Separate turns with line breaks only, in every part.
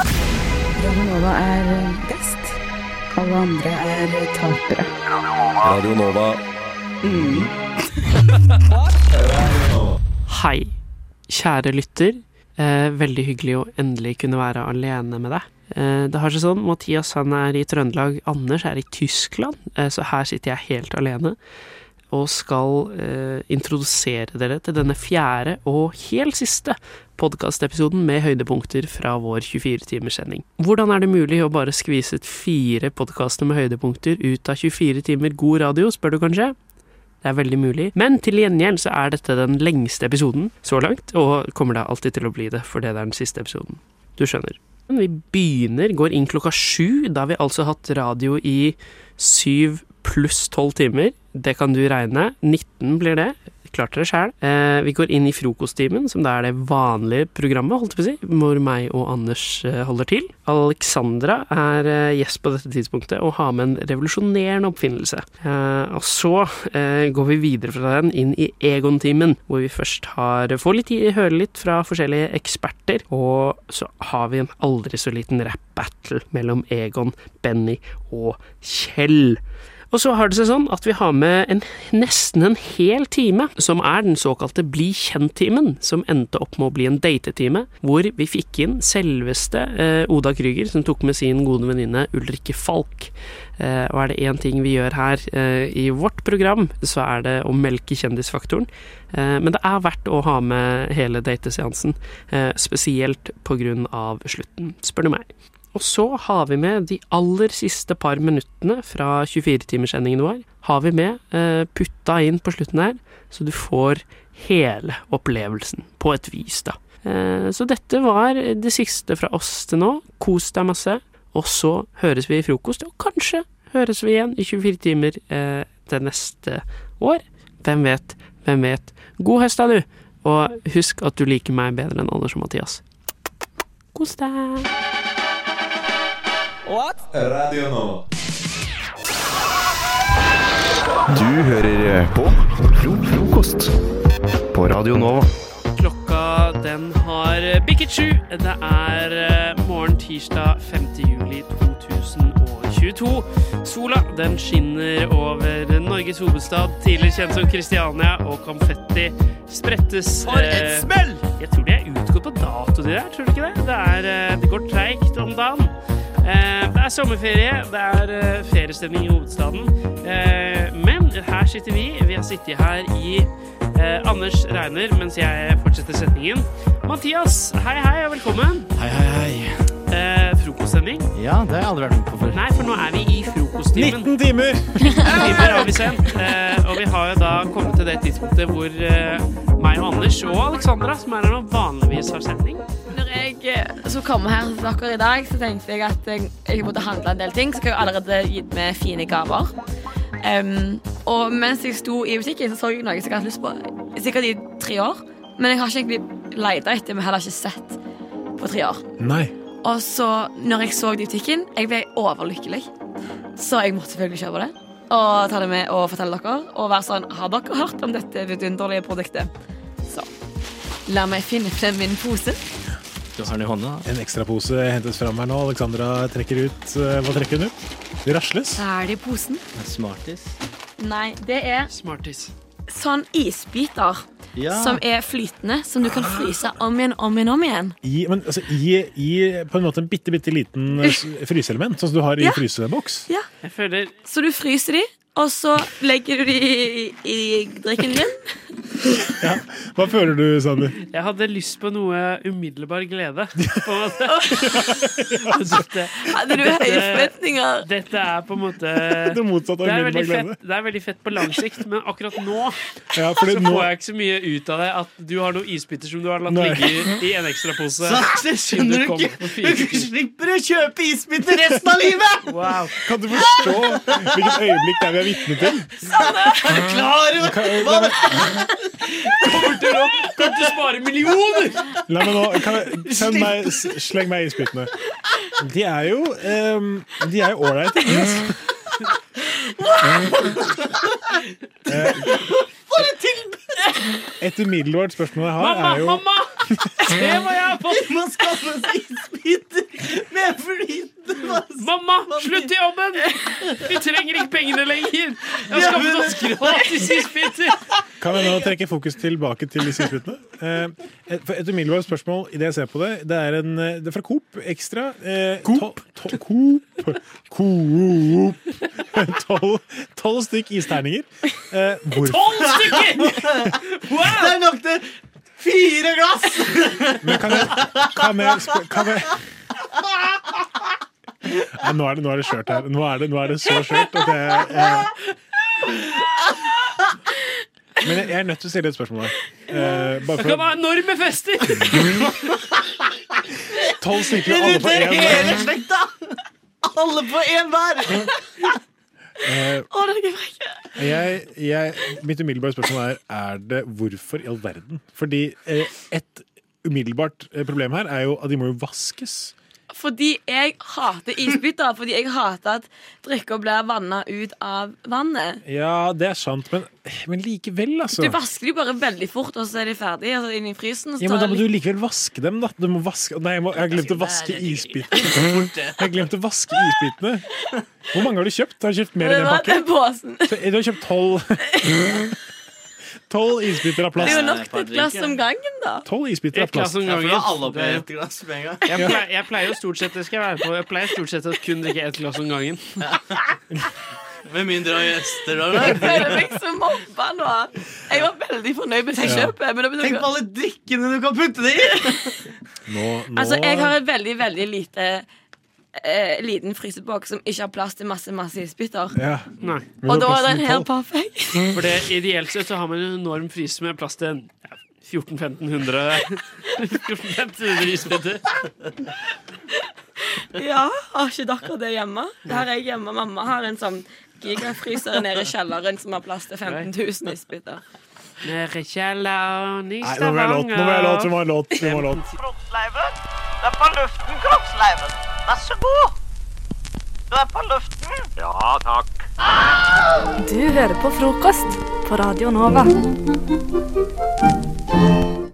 Ramonova er eh, best. Alle andre er eh, tapere.
Radio Nova.
Hei, kjære lytter. Eh, veldig hyggelig å endelig kunne være alene med deg. Eh, det har seg sånn, Mathias han er i Trøndelag, Anders er i Tyskland, eh, så her sitter jeg helt alene. Og skal eh, introdusere dere til denne fjerde og helt siste podkastepisoden med høydepunkter fra vår 24-timerssending. Hvordan er det mulig å bare skvise ut fire podkaster med høydepunkter ut av 24 timer god radio, spør du kanskje? Det er veldig mulig. Men til gjengjeld så er dette den lengste episoden så langt, og kommer da alltid til å bli det, fordi det er den siste episoden. Du skjønner. Men Vi begynner, går inn klokka sju. Da har vi altså hatt radio i syv pluss tolv timer. Det kan du regne. 19 blir det. Klart dere sjæl. Eh, vi går inn i frokosttimen, som da er det vanlige programmet, holdt jeg på å si, hvor meg og Anders eh, holder til. Alexandra er eh, gjest på dette tidspunktet og har med en revolusjonerende oppfinnelse. Eh, og så eh, går vi videre fra den inn i Egon-timen, hvor vi først har, får litt, høre litt fra forskjellige eksperter, og så har vi en aldri så liten rap-battle mellom Egon, Benny og Kjell. Og så har det seg sånn at vi har med en, nesten en hel time, som er den såkalte bli kjent-timen, som endte opp med å bli en datetime, hvor vi fikk inn selveste eh, Oda Krüger, som tok med sin gode venninne Ulrikke Falk. Eh, og er det én ting vi gjør her eh, i vårt program, så er det å melke kjendisfaktoren. Eh, men det er verdt å ha med hele dateseansen, eh, spesielt pga. slutten, spør du meg. Og så har vi med de aller siste par minuttene fra 24-timerssendingen vår. Har vi med eh, putta inn på slutten her, så du får hele opplevelsen på et vis, da. Eh, så dette var det siste fra oss til nå. Kos deg masse. Og så høres vi i frokost, og kanskje høres vi igjen i 24 timer eh, til neste år. Hvem vet, hvem vet. God høst, da, du! Og husk at du liker meg bedre enn Anders og Mathias. Kos deg!
Radio Nova.
Du hører på Fro frokost på Radio Nova.
Klokka den har bikket sju. Det er eh, morgen tirsdag 5. juli 2022. Sola den skinner over Norges hovedstad, tidligere kjent som Kristiania, og konfetti sprettes. For en smell! Jeg tror de er utgått på dato, de der. Tror du ikke det? Det, er, eh, det går treigt om dagen. Eh, Det er sommerferie, det er eh, feriestemning i hovedstaden. Eh, Men her sitter vi. Vi har sittet her i Eh, Anders regner mens jeg fortsetter setningen. Mathias, hei hei og velkommen.
Hei, hei, hei.
Eh, frokostsending?
Ja, det har jeg aldri vært med på før.
Nei, for nå er vi i frokosttimen.
19 timer!
Timer har vi sendt, eh, og vi har jo da kommet til det tidspunktet hvor eh, meg og Anders og Alexandra, som er her nå, vanligvis har sending.
Når jeg eh, skulle komme her til dere i dag, så tenkte jeg at jeg, jeg måtte handle en del ting. Så jeg har jo allerede gitt meg fine gaver. Em, og mens jeg sto i butikken, så så jeg noe som jeg har hatt lyst på sikkert i tre år. Men jeg har ikke egentlig leita etter, men heller ikke sett på tre år.
Nei.
Og så, når jeg så det i butikken, jeg ble overlykkelig. Så jeg måtte selvfølgelig kjøpe det. Og ta det med og fortelle dere. Og være sånn Har dere hørt om dette vidunderlige produktet? Så la meg finne frem min pose.
Du har den i hånda.
En ekstrapose hentes fram her nå. Alexandra trekker ut eh, Hva trekker hun ut? Det rasles.
Hva er det i posen?
da. Smartis.
Nei, det er
Smarties.
sånn isbiter
Ja.
som er flytende, som du kan fryse om igjen, om igjen, om igjen.
I, men, altså, i, I på en måte en bitte, bitte liten eh, s- fryseelement, sånn som du har i
Ja.
fryseboks.
Jeg føler
Så du fryser de, og så legger du de i, i, i drikken din.
Hva føler du, Sander?
jeg hadde lyst på noe umiddelbar glede. På en måte. dette,
Hadde du høye forventninger?
dette er på en måte
Det motsatte
det
av
er,
umiddelbar
veldig
glede.
fett, det er veldig fett på lang sikt, men akkurat nå
Ja, fordi
så
nå,
får jeg ikke så mye ut av det at du har noen isbiter som du har latt
Nei.
ligge i en ekstrapose.
Det
siden
skjønner du
kom
ikke!
på fire.
slipper å kjøpe isbiter resten av livet!
Wow.
kan du forstå hvilket øyeblikk det er vi er vitne til?
Er du klar over hva det
Kommer til å kommer til å spare millioner!
La meg nå kan jeg, kan meg, s- Sleng meg i isbitene. De er jo um, De er jo ålreite. Yes. Eh, Et umiddelbart spørsmål jeg har, er jo
Det må jeg ha fått!
Man skaffer seg isbiter med flytende vann.
Mamma, slutt i jobben! Vi trenger ikke pengene lenger! Jeg har skaffet oss gratis isbiter!
Kan jeg nå trekke fokus tilbake til disse utbyttene? Eh, et- for et umiddelbart spørsmål i det jeg ser på det. Det er, en, eh, det er fra Coop Extra. Eh, Coop? To, to, Coop. Coop. Tolv tolv stykk isterninger. Eh, hvorfor?
Tolv stykker! Wow!
Det er nok til fire glass!
Men kan jeg, kan jeg, sp- kan jeg Nei, nå er det, nå er det skjørt her. Nå er det, nå er det så skjørt at jeg eh. Men jeg, jeg er nødt til å stille et spørsmål her. Eh, bare
Kan
for
ha enorme fester!
tolv stykker, alle på
Inviter
én.
hele slekta! Alle på én hver!
Å, det er frekk.
Eh, Jeg, jeg, mitt umiddelbare spørsmål er, er det hvorfor i all verden? Fordi eh, et umiddelbart eh, problem her er jo at de må jo vaskes.
Fordi jeg hater isbiter. Fordi jeg hater at drikker blir vanna ut av vannet.
Ja, det er sant, men, men likevel, altså.
Du vasker de bare veldig fort, og så er de ferdige. Altså inn i frysen. og Så
Ja, men
tar
Da
jeg
må
litt- Altså,
du likevel vaske dem, da. Du må vaske Nei, jeg, må, jeg har glemt å vaske isbitene. Jeg har glemt å vaske isbitene. Hvor mange har du kjøpt? Har du kjøpt mer i
det
den
var
pakken?
den posen.
Så, eh, Du har kjøpt tolv Tolv isbiter av
Det er jo
plast.
nok til et glass om gangen, da.
Tolv isbiter av
Et glass
plast.
om
Ja, for da er
gangen.
alle på ett glass med en gang.
Jeg pleier, jeg pleier jo stort sett det skal jeg være på Jeg pleier stort sett å kun drikke ett glass om gangen.
Med mindre av gjester.
Jeg
da.
føler meg så mobba nå. Jeg var veldig fornøyd med det jeg kjøpet. Men da begynner
Tenk
jeg
på
å-
alle drikkene du kan putte det i!
Nå, nå
altså, jeg har en veldig, veldig lite eh, liten fryseboks som ikke har plass til masse masse isbiter.
ja,
Nei.
men nå
Og da er
plassen
den
i
her
tolv.
perfekt.
For det, ideelt sett så har man en enorm fryse med plass til en, ja, 1400-1500 1400 isbiter.
Ja, har ikke dere det hjemme? Det har jeg hjemme. Mamma har en sånn gigafryser nede i kjelleren som har plass til 15 000 isbiter.
Nede i kjelleren i
Nei, nå vil jeg låt, nå vil jeg låt, vi må ha låt, vi må ha låt.
kroppsleiven. Du er på luften, kroppsleiven. Vær så god. Du er på luften. Ja, takk.
Du hører på frokost på Radio Nova.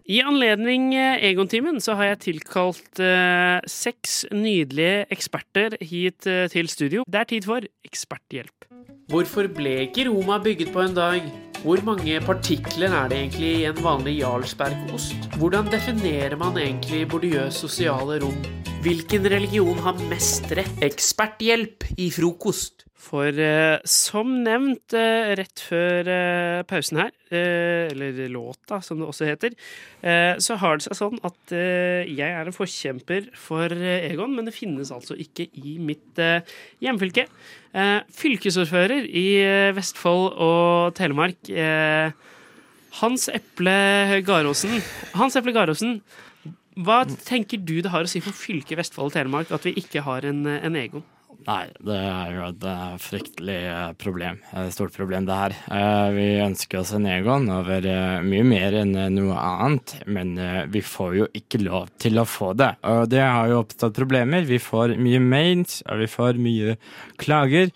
I anledning eh, Egon-timen så har jeg tilkalt eh, seks nydelige eksperter hit eh, til studio. Det er tid for eksperthjelp. Hvorfor ble ikke Roma bygget på en dag? Hvor mange partikler er det egentlig i en vanlig Jarlsbergost? Hvordan definerer man egentlig bordiøs sosiale rom? Hvilken religion har mest rett? Eksperthjelp i frokost. For eh, som nevnt eh, rett før eh, pausen her, eh, eller låta som det også heter, eh, så har det seg sånn at eh, jeg er en forkjemper for eh, Egon, men det finnes altså ikke i mitt eh, hjemfylke. Eh, fylkesordfører i eh, Vestfold og Telemark, eh, Hans Eple Garåsen. Hans Eple Garåsen, hva tenker du det har å si for fylket Vestfold og Telemark at vi ikke har en, en Egon?
Nei, det er jo et eh, fryktelig eh, problem. Et stort problem, det her. Eh, Vi ønsker oss en Egon over eh, mye mer enn eh, noe annet, men eh, vi får jo ikke lov til å få det. Og det har jo oppstått problemer. Vi får mye mails, og vi får mye klager.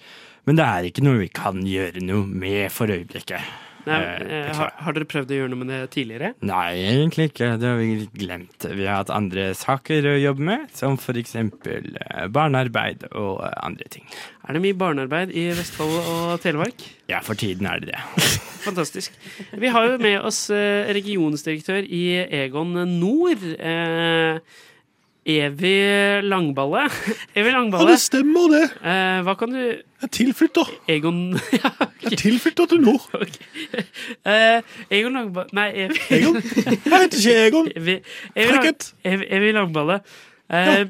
Men det er ikke noe vi kan gjøre noe med for øyeblikket.
Nei,
Eh,
eh,
beklager.
har, har dere prøvd å gjøre noe med det tidligere?
Nei, egentlig ikke. Det har vi litt glemt. Vi har hatt andre saker å jobbe med, som for eksempel eh, barnearbeid og eh, andre ting.
Er det mye barnearbeid i Vestfold og Telemark?
Ja, for tiden er det det.
Fantastisk. Vi har jo med oss eh, regionsdirektør i Egon Nord. eh, Evy Langballe. Evy
Ja,
Langballe,
det stemmer, det.
eh, hva kan du
Jeg er tilflytt, da.
Egon ja,
Jeg er tilflytt da til nord.
eh, Egon Langballe Nei, Evy
Egon. Jeg heter ikke Egon.
Evy- Evy Lang-
Frøket.
Evy Evy Langballe. eh,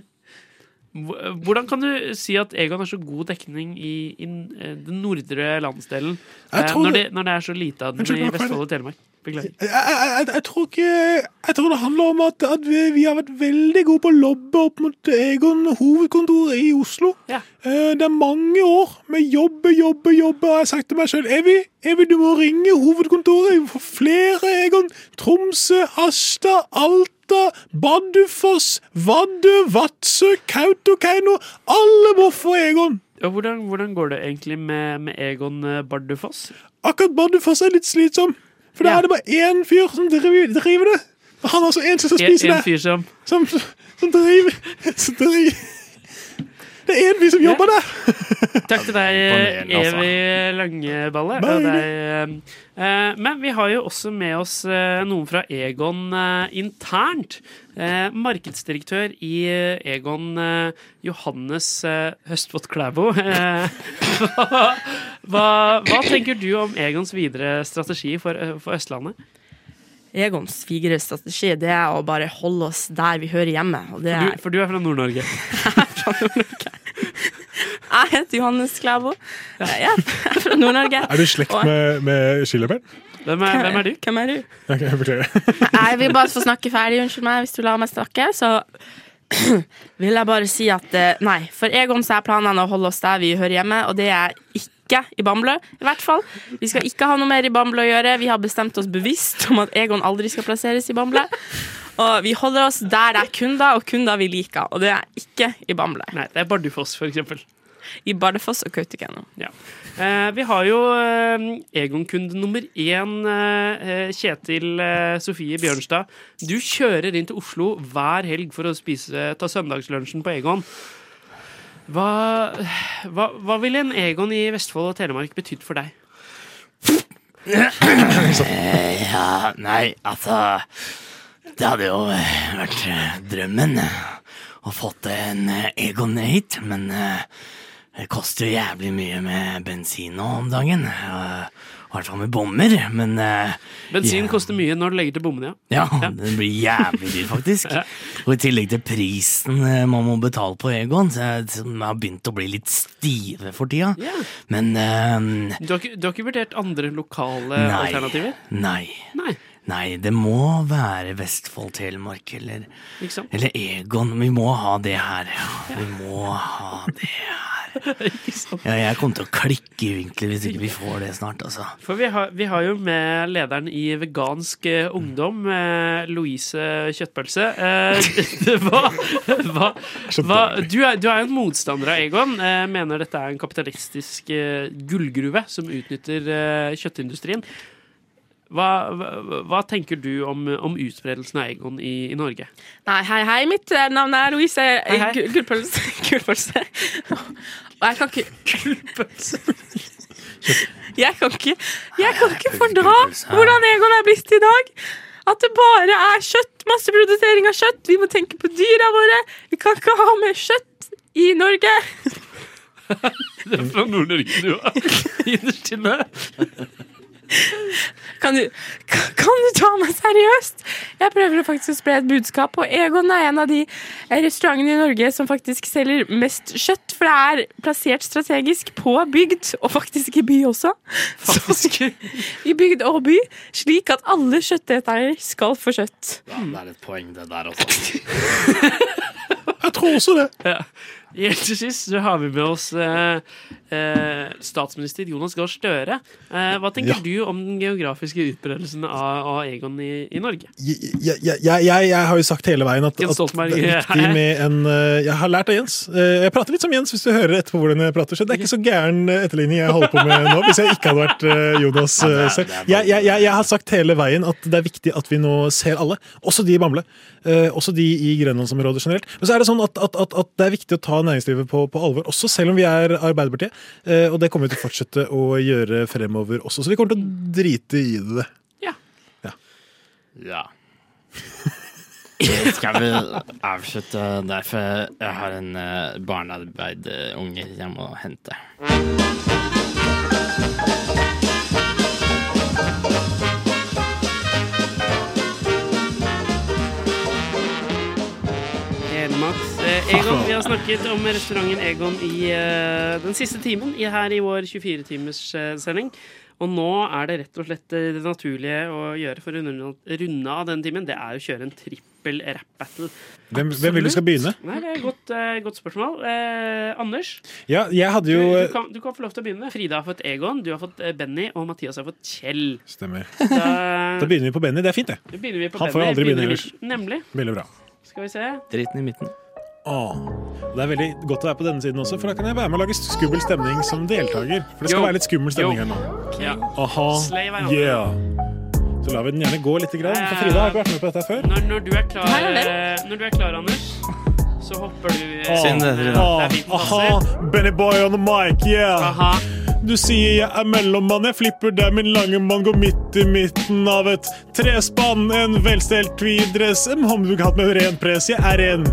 hv- Hvordan kan du si at Egon har så god dekning i, i eh, den nordre landsdelen, eh,
Jeg tror
når, det,
det-
når det er så lite av den
Unnskyld,
i
hva var det?
Vestfold og Telemark? Beklager.
Jeg, jeg, jeg, jeg, tror ikke, jeg tror det handler om at, at vi, vi har vært veldig gode på å lobbe opp mot Egon hovedkontor i Oslo.
Ja.
Eh, Det er mange år med jobbe, jobbe, jobbe. Og jeg har sagt til meg sjøl Evy, Evy, du må ringe hovedkontoret. Vi må få flere Egon. Tromsø, Asta, Alta, Bardufoss, Vardø, Vadsø, Kautokeino. Alle må få Egon.
Og hvordan, hvordan går det egentlig med, med Egon eh, Bardufoss?
Akkurat Bardufoss er litt slitsom. For da er det bare én fyr som driver, driver det. Og han er også en som skal
En-
spise
en fyr
det.
som-
Som, som driver, som driver. Det er en fyr som jobber der.
Takk til deg,
Imponerende, altså.
Evy Langeballe. Og
Balle.
deg, eh, men vi har jo også med oss eh, noen fra Egon eh, internt. Eh, markedsdirektør i eh, Egon, eh, Johannes eh, Høstfot Klæbo. Eh, hva, hva, hva tenker du om Egons videre strategi for, eh, for Østlandet?
Egons vigere strategi det er å bare holde oss der vi hører hjemme. Og det
For
er,
du, for du er fra Nord-Norge.
jeg heter Johannes Klæbo. Jeg er jeg er fra Nord-Norge.
Er du i slekt
Og-
med, med Skiløperen?
Hvem
du? Hvem er du?
Ok, jeg beklager.
Jeg vil bare få snakke ferdig, unnskyld meg, hvis du lar meg snakke. Så vil jeg bare si at eh, nei, for Egon så er planene å holde oss der vi hører hjemme, og det er ikke i Bamble, i hvert fall. Vi skal ikke ha noe mer i Bamble å gjøre. Vi har bestemt oss bevisst om at Egon aldri skal plasseres i Bamble. Og vi holder oss der det er kunder, og kunder vi liker, og det er ikke i Bamble.
Nei, det er Bardufoss, for eksempel.
I Bardufoss og Kautokeino.
Ja. Eh, vi har jo eh, Egon-kunde nummer én, eh, eh, Kjetil eh, Sofie Bjørnstad. Du kjører inn til Oslo hver helg for å spise, ta søndagslunsjen på Egon. Hva, hva, hva ville en Egon i Vestfold og Telemark betydd for deg?
Eh, Ja, nei, altså Det hadde jo eh, vært eh, drømmen eh, å fått en eh, Egon hit, men eh, det koster jo jævlig mye med bensin nå om dagen. eh, I hvert fall med bommer, men eh,
Bensin koster mye når du legger til bommene,
ja, den blir jævlig dyr, faktisk. Og i tillegg til prisen eh, man må betale på Egon, så- som har begynt å bli litt stive for tida.
Ja.
Men eh,
Du har, ikke, du har ikke vurdert andre lokale
Nei.
alternativer?
eh, nei.
Nei.
Nei, det må være Vestfold, Telemark eller,
Ikke sant?
eller Egon. Vi må ha det her. ja. Vi må ha det her. Ja, jeg kommer til å klikke i vinkler hvis ikke vi får det snart, altså.
For vi har, vi har jo med lederen i Vegansk eh, Ungdom, eh, Louise Kjøttpølse. Eh, hva, hva, hva, du, er, du er jo en motstander av Egon. Eh, mener dette er en kapitalistisk eh, gullgruve som utnytter eh, kjøttindustrien. Hva, hva, hva tenker du om, om utbredelsen av Egon i, i Norge?
Nei, hei, hei, mitt eh, navn er Louise
hei.
Gu- Gullpølse. Gullpølse. Og jeg kan ikke Gullpølse. Jeg kan ikke, jeg kan ikke fordra hvordan Egon er blitt i dag. At det bare er kjøtt, masseprodusering av kjøtt. Vi må tenke på dyra våre. Vi kan ikke ha mer kjøtt i Norge.
Det er fra Nord-Norge du er innerst inne.
Kan du, kan, kan du ta meg seriøst? Jeg prøver å faktisk å spre et budskap, og Egon er en av de restaurantene i Norge som faktisk selger mest kjøtt, for det er plassert strategisk på bygd, og faktisk i by også.
Faktisk.
I bygd og by, slik at alle kjøttetere skal få kjøtt.
Ja, det er et poeng, det der også.
Jeg tror også det.
Ja. Helt til sist så har vi med oss eh, eh, statsminister Jonas Gahr Støre. Eh, hva tenker
Ja.
du om den geografiske utbredelsen av, av Egon i, i Norge?
jeg, jeg, jeg, jeg, jeg har jo sagt hele veien at,
Jens
at
Stoltenberg.
det er viktig med en eh, Jeg har lært av Jens. Eh, Jeg prater litt som Jens, hvis du hører etterpå hvordan jeg prater. Så det er ikke så gæren eh, etterligning jeg holder på med nå, hvis jeg ikke hadde vært eh, Jonas eh, selv. Jeg, jeg, jeg, jeg har sagt hele veien at det er viktig at vi nå ser alle, også de i Bamble. eh, Også de i Grenlandsområdet generelt. Men så er det sånn at, at, at, at det er viktig å ta næringslivet på, på alvor, også selv om vi er Arbeiderpartiet. Eh, Og det kommer vi til å fortsette å gjøre fremover også, så vi kommer til å drite i det.
Ja. Eh, Skal vi avslutte der, for jeg har en eh, barnearbeiderunge jeg må hente.
Helmaks. Eh, Egon, vi har snakket om restauranten Egon i eh, den siste timen i, her i vår 24-timerssending. Og nå er det rett og slett eh, det naturlige å gjøre for å runde, runde av den timen, det er å kjøre en trippel rap-battle.
Hvem, hvem vil du skal begynne?
Nei, det er et godt, eh, godt spørsmål. Eh, Anders?
Ja, jeg hadde jo eh,
du, du, kan, du kan få lov til å begynne. Frida har fått Egon, du har fått eh, Benny, og Mathias har fått Kjell.
Stemmer.
Da,
Da begynner vi på Benny. Det er fint, det.
Da begynner vi på
Han får jo
Benny,
aldri begynne
begynner i
ellers.
midten. Nemlig.
Veldig bra.
Skal vi se.
Driten i midten.
Åh. Det er veldig godt å være på denne siden også, for da kan jeg være med og lage skummel stemning som deltaker. For det skal
Jo.
være litt skummel stemning her nå.
Ja.
Aha.
Slay hverandre.
Yeah. Så lar vi den gjerne gå litt, grann, for Frida har ikke vært med på dette før.
Når, når, du er klar,
Her er den.
eh, når du er klar, Anders, så hopper du eh,
Åh,
eh, det er fint,
Ah, aha,
passer.
Benny Boy on the mic, yeah. Du sier jeg er mellommann, jeg flipper der min lange mann går midt i midten av et trespann. En velstelt tweedress, en hånddukat med ren press. Jeg er en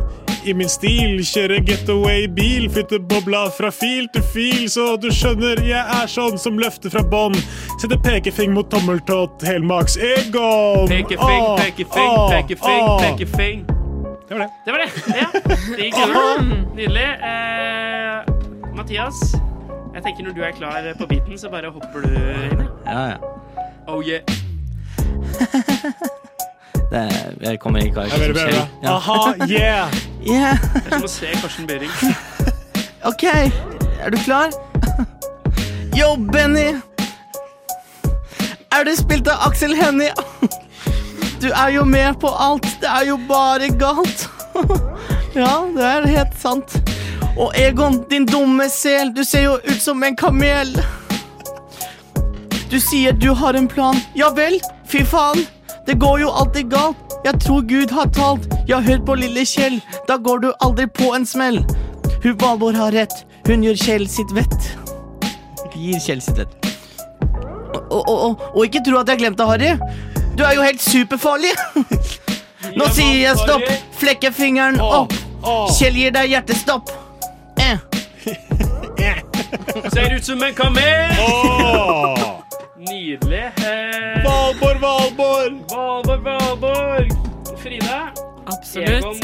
i min stil. Kjører getaway-bil, flytter bobla fra fil til fil, så du skjønner jeg er sånn som løfter fra bånd. Setter pekefing mot tommeltott, helmaks Egon.
Pekefing,
Åh,
pekefing,
åh,
pekefing,
åh.
pekefing.
Det var det.
Det var det. Ja, det gikk gjennom. Nydelig. Eh, Mathias, jeg tenker når du er klar på beaten, så bare hopper du inn. jeg.
Ja, ja.
Oh yeah.
Det, jeg kommer ikke av hva
Jeg
som
vil
skjer.
bedre. Aha, yeah.
Yeah.
Det er som å se Karsten Behring.
OK, er du klar? Yo, Benny! Er du spilt av Aksel Hennie? Du er jo med på alt. Det er jo bare galt. Ja, det er helt sant. Og Egon, din dumme sel, du ser jo ut som en kamel. Du sier du har en plan. Ja vel, fy faen. Det går jo alltid galt. Jeg tror Gud har talt. Ja, hør på lille Kjell. Da går du aldri på en smell. Hun Valborg har rett. Hun gjør Kjell sitt vett. Gir Kjell sitt vett. Og, og, og, og ikke tro at jeg glemte Harry. Du er jo helt superfarlig. Nå sier jeg stopp. Flekker fingeren opp. Kjell gir deg hjertestopp. Eh.
Ser ut som en kamel!
Åh!
Nydelig. Eh,
Valborg, Valborg!
Valborg, Valborg! Frida?
Absolutt.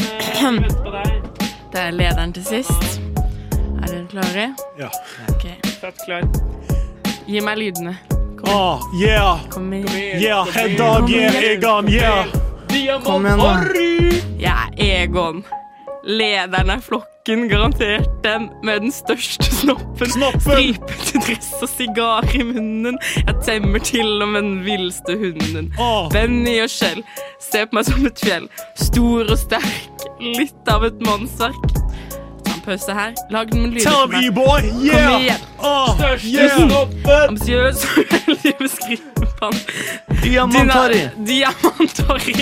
Egon, eh, venter på deg.
Det er lederen til sist. Er dere klare?
Ja.
Ok.
Fett klar.
Gi meg lydene.
Ah, yeah.
Kom igjen.
Yeah, head dog, yeah, Egon, yeah.
eh,
Kom igjen, da. Jeg er Egon. Lederen av flokken, garantert den med den største snoppen. Stripete dress og sigar i munnen. Jeg temmer til og med den villeste hunden.
Oh.
Benny og Kjell ser på meg som et fjell. Stor og sterk, litt av et mannsverk. Ta en pause her. Lag den med lyder.
Tell
for
me,
meg.
boy, yeah.
Kom igjen.
Ah,
Største
yeah.
snoppen. Ambisiøs og veldig beskriven.
Diamantari.
Diamantari.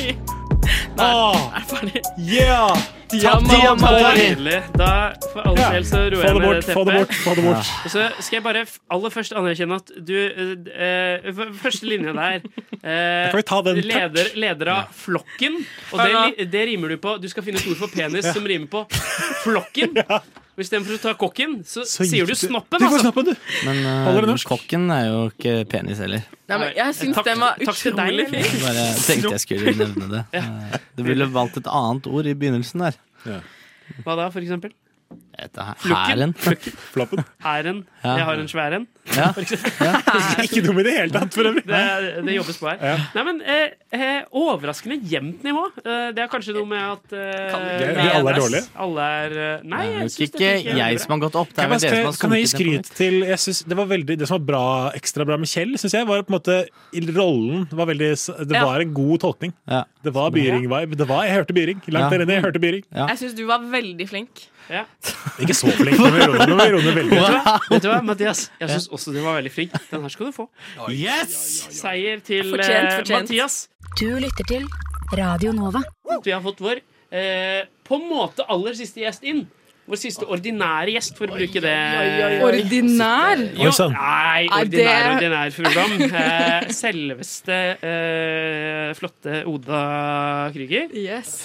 Nei, jeg er ferdig.
Oh, Yeah!
Diamantari. Da, for all
Ja.
del, så
Få
roer jeg
det
med
bort,
det teppet.
få det bort, få det bort.
Og så skal jeg bare f- aller først anerkjenne at du eh, eh, f- Første linja der
Da
eh,
kan vi ta den
leder,
først.
leder av flokken. Og det,
Ja.
li- det rimer du på. Du skal finne et ord for penis
Ja.
som rimer på flokken. Og Istedenfor å ta kokken, så,
Så
sier
gikk
du
det-
snoppen.
Du får
altså.
snoppen, du.
Men eh,
Holder det norsk?
kokken er jo ikke penis heller.
Nei, men jeg syns
Takk-
den var
takk til deg,
utrolig
Lilly.
Jeg
fin.
bare tenkte jeg skulle nevne det. Eh, Du ville valgt et annet ord i begynnelsen der.
Hva da, for eksempel?
Dette her-
Flokken.
Hæren.
Floppen.
Hæren.
Ja.
Jeg har en svær en.
Ja.
For eksempel.
Ikke dum i det hele tatt, for øvrig.
Det, det jobbes på her. Nei, men eh, eh, Overraskende jevnt nivå. Eh, det er kanskje noe med at eh,
Vi- vi alle er dårlige.
Alle er, eh, nei,
Det er
jeg
jo
syns
ikke jeg som har gått opp, det
Kan
er vel
jeg,
dere som
bare-
har
kan jeg gi
sunket ned på
skryt til jeg synes det, var veldig, det som var bra, ekstra bra med Kjell, syns jeg, var på en måte Rollen var veldig s- Det
Ja.
var en god tolkning. Det var Byring-vibe. Det var, Jeg hørte Byring. Langt
Ja.
der inne, jeg hørte Byring.
Jeg syns du var veldig flink.
Ikke så flink, men vi roer- vi roer veldig.
Vet du hva, Vet du hva Mathias? Jeg syns også du var veldig flink. Den her skal du få. Yes! Seier til
Fortjent,
eh,
fortjent.
Mathias.
Du lytter til Radio Nova.
Vi har fått vår eh, på en måte aller siste gjest inn. Vår siste
Ah.
ordinære gjest, for å bruke det.
Ordinær?
Jo,
Oi, sann.
nei,
Nei, det-
ordinær, ordinær Fuglam. Eh, Selveste eh, flotte Oda Krüger.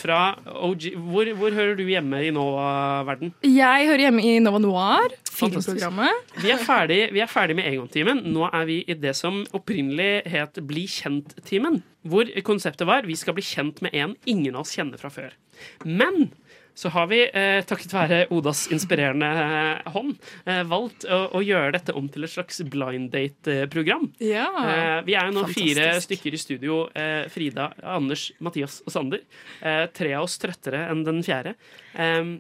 Fra OG hvor, hvor hører du hjemme i Nova-verden?
Jeg hører hjemme i Nova Noir,
Fantastisk.
filmprogrammet.
Vi er ferdig, vi er ferdig med Egon-timen. Nå er vi i det som opprinnelig het Bli kjent-timen. Hvor konseptet var vi skal bli kjent med en ingen av oss kjenner fra før. Men så har vi, eh, takket være Odas inspirerende eh, hånd, eh, valgt å, å gjøre dette om til et slags blind date-program.
Ja.
Ah,
Eh, vi er jo nå fire
Fantastisk.
stykker i studio. Eh, Frida, Anders, Mathias og Sander. Eh, tre av oss trøttere enn den fjerde. Eh,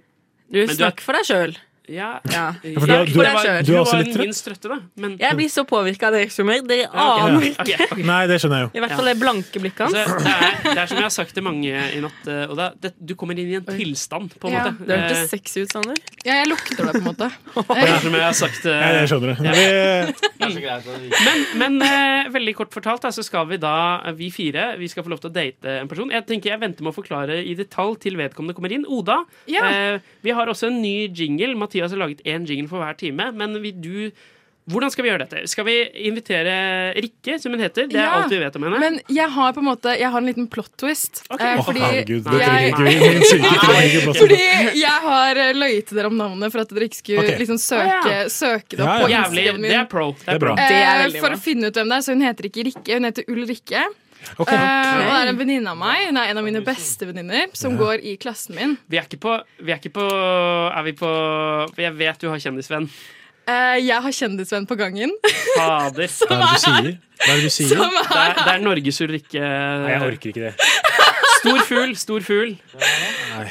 Du, snakk for deg sjøl.
Ja,
Ja.
Jeg-
for du er-
det
du er-
var-
du er også
det var
litt trøtt?
min strøtte, da. Men
Jeg blir så påvirka av dere som meg. Dere aner ikke.
Nei, det skjønner jeg jo.
I hvert fall det blanke
Så
blikket hans.
det, er, det er som jeg har sagt til mange i natt, eh, Oda. Det, du kommer inn i en tilstand, på en
Ja,
måte.
det hørtes
Eh,
sexy ut, Sander.
Ja, jeg lukter det, på en måte.
det er som jeg har sagt eh,
Nei, jeg skjønner det.
Men, men eh, veldig kort fortalt da, så skal vi da, eh, vi fire, vi skal få lov til å date en person. Jeg tenker jeg venter med å forklare i detalj til vedkommende kommer inn. Oda,
Ja.
eh, vi har også en ny jingle. Mathias har laget én jingle for hver time. Men vil du hvordan skal vi gjøre dette? Skal vi invitere Rikke, som hun heter? Det er
Ja,
alt vi vet om henne.
Men jeg har på en måte Jeg har en liten plot twist. eh,
Å, herregud, det trenger ikke vi.
jeg,
Min syke trenger ikke plot twist.
fordi jeg har eh, løyet dere om navnet for at dere ikke skulle
Ok.
liksom søke,
Å, ja.
søke det opp
Jævlig,
på Instagramen
Det
min.
er pro. Det er bra.
Eh, for å finne ut hvem det er. Så hun heter ikke Rikke, hun heter Ulrikke.
Ok.
Eh, og det er en venninne av meg. Hun er en av mine beste venninner som går i klassen min.
Vi er ikke på Vi er ikke på Er vi på For jeg vet du har kjendisvenn.
Eh, jeg har kjendisvenn på gangen.
Fader.
Hva er det du sier?
Hva er det du
sier? Som
Det
er
er, det er Norges Ulrikke Nei, jeg orker ikke det. Stor fugl, stor fugl.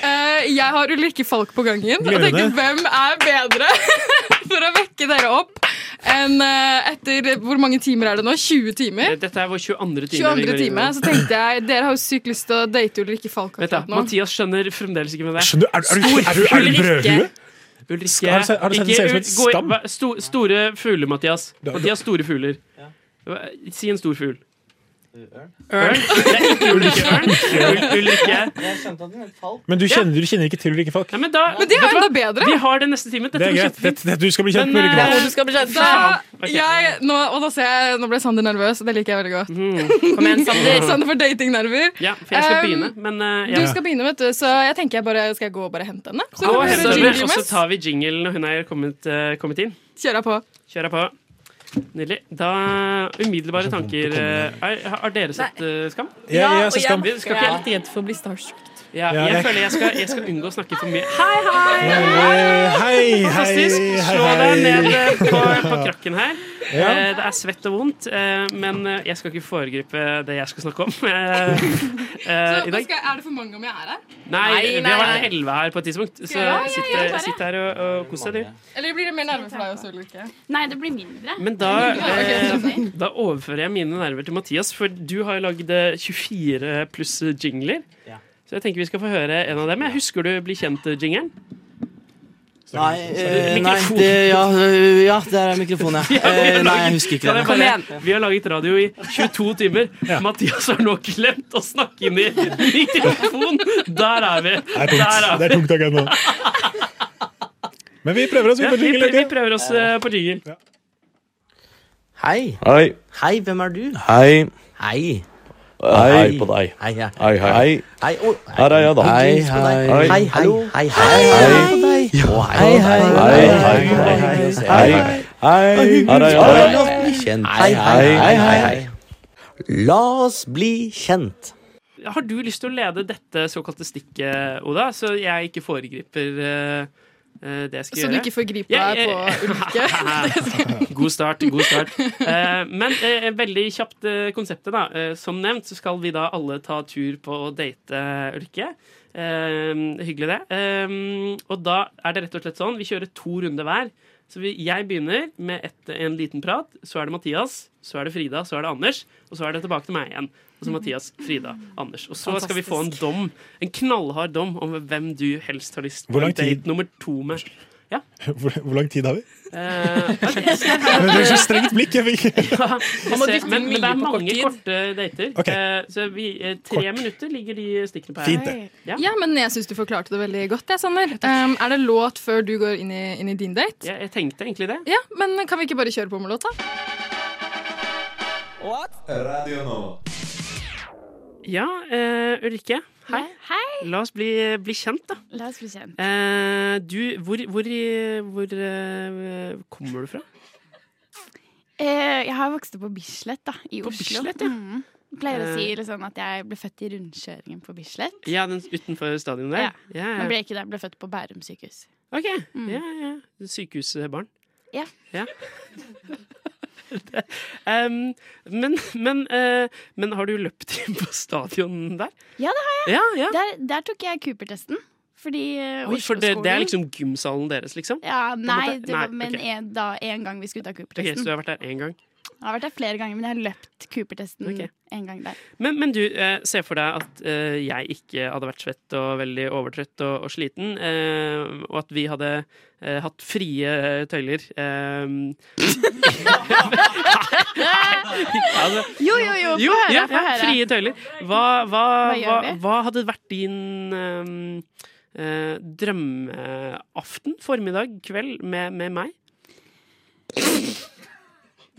Eh, jeg har Ulrikke Falk på gangen og
Gleder
tenker
det.
hvem er bedre for å vekke dere opp enn eh, etter hvor mange timer er det nå? 20 timer?
Dette er vår 22. time.
22. time, så tenkte jeg Dere har jo sykt lyst til å date Ulrikke Falk
Vet du,
akkurat nå.
Mathias skjønner fremdeles ikke hvem det er.
Skjønner, er, er, du- er, du- er du brødhue?
Ulrikke
Har du sett- har du sett det
Ikke
ser ut som en
ut-
stam?
gå i- hva- sto- Store fugler, Mathias. Mathias, store fugler. Hva- Si en stor fugl. Ørn? Det er ikke Ulrikke Ørn. Ul- Ulrikke
Jeg skjønte at den het Falk.
Men du kjenner, du kjenner ikke til ulike folk?
Nei, men, da,
Men det er
vet du
jo
hva?
enda bedre.
Vi har det neste time. Dette
Det er
blir
greit.
kjempefint.
Dette- dette- Du skal bli kjent med
Men,
ulike
eh,
folk.
Du skal bli kjent med
Da,
Falk.
jeg, nå, og da ser jeg, nå ble Sander nervøs, og det liker jeg veldig godt.
Kom igjen, Sander.
får datingnerver.
Mhm. Ja, for jeg skal
Um,
begynne, men eh,
Du
ja.
skal begynne, vet du, så jeg tenker jeg bare skal jeg gå og bare hente henne. Så
Gå og
hører
hente
jingle
henne, og så
mens.
tar vi jinglen når hun er kommet, eh, kommet inn.
Kjører jeg på.
Kjører på. Nydelig. Da umiddelbare tanker eh, er, Har dere sett eh, Skam?
Ja, og
Eh,
Vi skal
jeg, jeg
ikke-
er litt redd for å bli starstruck.
Ja,
Ja,
jeg
det-
føler jeg skal, jeg skal unngå å snakke for mye.
Hei, hei!
Hei, hei,
Fantastisk. Slå
hei,
deg
hei.
ned eh, på, på krakken her.
Ja.
Eh, Det er svett og vondt, eh, men eh, jeg skal ikke foregripe det jeg skal snakke om eh, eh,
Så,
i
hva
dag.
skal, er det for mange om jeg er her?
Nei, vi har
nei.
vært elleve her på et tidspunkt, så
Ja, ja, ja,
sitt,
bare.
sitt her og, og kos deg, du.
Eller blir det mer nerve for deg også, Ulrikke?
Nei, det blir mindre.
Men da,
Ja, ok,
eh,
skjønner.
da overfører jeg mine nerver til Mathias, for du har jo lagd eh, 24 pluss jingler. Så jeg tenker vi skal få høre en av dem. Jeg husker du blir eh, kjent-jingeren.
Nei, eh, nei
Mikrofon.
det, ja, øh, ja, der er mikrofonen, ja. Eh, nei, jeg husker ikke den.
Kan jeg bare- Vi har laget radio i 22 timer. Mathias har nå glemt å snakke inn i mikrofon. Der er vi.
Det er tungt. Det er tungt å gunne. Men vi prøver oss. Vi
Ja,
på
vi,
jingle,
vi
ikke?
prøver oss eh, på jingle.
Hei.
Hei.
Hei, hvem er du?
Hei.
Hei.
Hei. på deg.
Hei, hei.
Hei, hei.
Hei, å,
Her er jeg, da.
Hei, hei.
Hei.
Hei, hei. Hei, hei. Hei, Å, hei. Hei, hei. Hei, hei.
Hei. Her er jeg, da.
La oss bli kjent. Hei, hei, hei, hei. La oss bli kjent.
Har du lyst til å lede dette såkalte stikket, Oda, så jeg ikke foregriper eh, eh, det jeg skal
Så
gjøre?
du ikke får gripe
Ja, eh,
deg
jeg-
på Ulrikke?
God start. god start Eh, Men eh, veldig kjapt eh, konseptet, da. Eh, som nevnt så skal vi da alle ta tur på å date Ulrikke. Eh, hyggelig, det. Eh, og da er det rett og slett sånn, vi kjører to runder hver. Så vi, jeg begynner med et, en liten prat. Så er det Mathias, så er det Frida, så er det Anders. Og så er det tilbake til meg igjen. Og så Mathias, Frida, Anders. Og så skal vi få en
Fantastisk.
dom, en knallhard dom om hvem du helst har lyst
Hvor
til å
lang tid-
date nummer to med. Ja.
Hvor, hvor lang tid har vi?
Eh,
Men det er så strengt blikk jeg fikk.
Ja,
Man må
vi ser,
dytte
men, men det
mye
er
på kort
mange korte dater.
Ok.
Eh, så vi, eh, tre
Kort.
minutter ligger de stikkene på her.
Fint, det.
Ja.
Ja, men jeg syns du forklarte det veldig godt, jeg, Sander. Um, er det låt før du går inn i, inn i din date?
Ja, jeg tenkte egentlig det.
Ja, men kan vi ikke bare kjøre på med låta?
Radio Nova.
Ja, eh, Ulrikke. Hei. La oss bli, bli kjent, da.
La oss bli kjent.
Eh, du, hvor, hvor, i- hvor eh, kommer du fra?
Eh, jeg har vokst opp på Bislett, da, i
På
Oslo.
Bislett, ja.
Mhm. Pleier å
Eh.
si liksom, at jeg ble født i rundkjøringen på Bislett.
Ja, den utenfor stadionet der? Ja,
Men
ja.
ble ikke det, jeg ble født på Bærum sykehus.
Ok, ja, ja. Sykehusbarn.
Ja.
Ja. Em, men, men, eh, men har du løpt inn på stadion der?
Ja, det har jeg.
Ja, ja.
Der, der tok jeg Cooper-testen. Fordi eh,
Oi, for det,
Oslo-skolen-
det er liksom gymsalen deres, liksom?
Ja,
På en
nei,
måte?
det var, men
ok.
en, da en gang vi skulle ta
Ok,
Cooper-testen.
så du har vært der én gang.
Jeg har vært der flere ganger, men jeg har løpt Cooper-testen
Ok.
en gang der.
Men, men du, eh, se for deg at eh, jeg ikke hadde vært svett og veldig overtrøtt og, og sliten, eh, og at vi hadde eh, hatt frie eh, tøyler. Eh, altså,
Jo, jo, jo, få høre,
ja,
få
ja,
høre.
frie tøyler. Hva, hva,
Hva
hva,
gjør vi?
hva hadde vært din eh, eh, drømmeaften, formiddag, kveld med, med meg?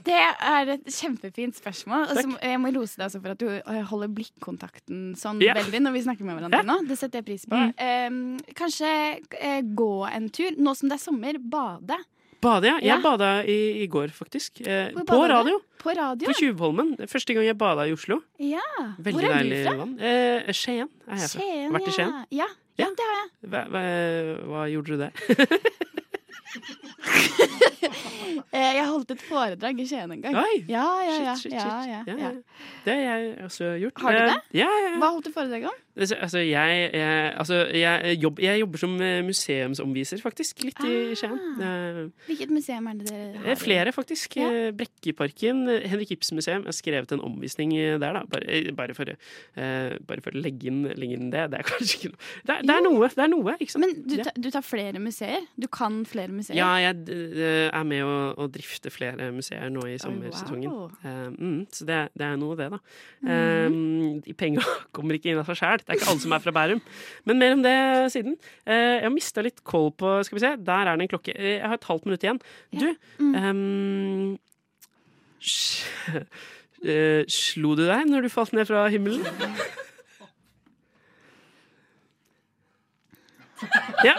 Det er et kjempefint spørsmål. Og så må- jeg må rose deg også for at du eh, holder blikkontakten sånn
Ja.
veldig når vi snakker med hverandre nå. Det setter jeg pris
Mm.
på. Eh, kanskje eh, gå en tur. Nå som det er sommer, bade.
Bade, ja. Jeg
Ja.
bada i, i går, faktisk. Eh,
Hvor
på
bader du?
radio.
På radio?
På Tjuvholmen. Første gang jeg bada i Oslo.
Ja.
Veldig
Hvor er du
deilig
fra?
vann. Eh, Skien er jeg fra.
Skien,
Vært i Skien.
Ja. ja. Ja, det har jeg.
Hva, hva, hva gjorde du der?
Eh, Jeg holdt et foredrag i Skien en gang.
Oi.
Ja, ja, ja.
Shit, shit, shit.
ja, ja,
Ja,
ja.
ja. Det har jeg også gjort.
Har du
Eh,
det?
Ja, ja, ja.
Hva holdt du foredrag om?
Altså, altså, jeg, jeg, altså jeg, jobb, jeg jobber som eh, museumsomviser, faktisk. Litt i
Ah.
Skien. Eh,
Hvilket museum er det dere
Eh,
har?
Flere, faktisk.
Ja.
Eh, Brekkeparken. eh, Henrik Ibsen museum. Jeg har skrevet en omvisning eh, der, da. Bare, eh, bare, for, eh, bare for å legge inn, legge inn det. Det er kanskje ikke noe Det er, det er noe, det er noe, ikke sant?
Men du,
Ja.
ta, du tar flere museer? Du kan flere museer?
Ja, jeg eh, er med å, å drifte flere museer nå i sommersesongen.
wow.
Eh, mm, så det, det er noe, det, da.
Mhm.
Eh, de penga kommer ikke inn av seg sjæl. Det er ikke alle som er fra Bærum. Men mer om det siden. Eh, jeg har mista litt koll på Skal vi se, der er det en klokke. Eh, jeg har et halvt minutt igjen. Du ehm, sj- eh, Slo du deg når du falt ned fra himmelen? Ja.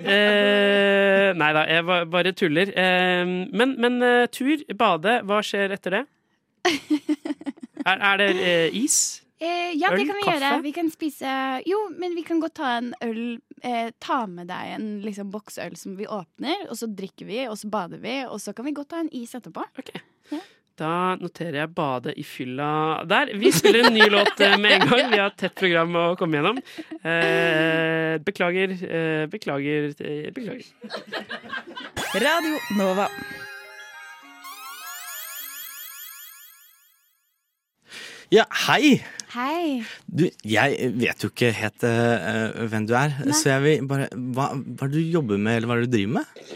Eh, nei da, jeg ba- bare tuller. Eh, men men eh, tur, bade, hva skjer etter det? Er, er det eh, is?
Eh, ja, det
Øl,
kan vi
kaffe?
gjøre. Vi kan spise Jo, men vi kan godt ta en øl. Eh, ta med deg en liksom, boks øl som vi åpner, og så drikker vi, og så bader vi, og så kan vi godt ta en is etterpå.
Da noterer jeg 'bade i fylla' der. Vi spiller en ny låt eh, med en gang. Vi har et tett program å komme gjennom. Eh, beklager, eh, beklager, eh, beklager.
Radio Nova.
Ja, hei!
Hei.
Du, jeg vet jo ikke helt eh, hvem du er,
Nei.
så jeg vil bare hva, hva er det du jobber med, eller hva er det du driver med?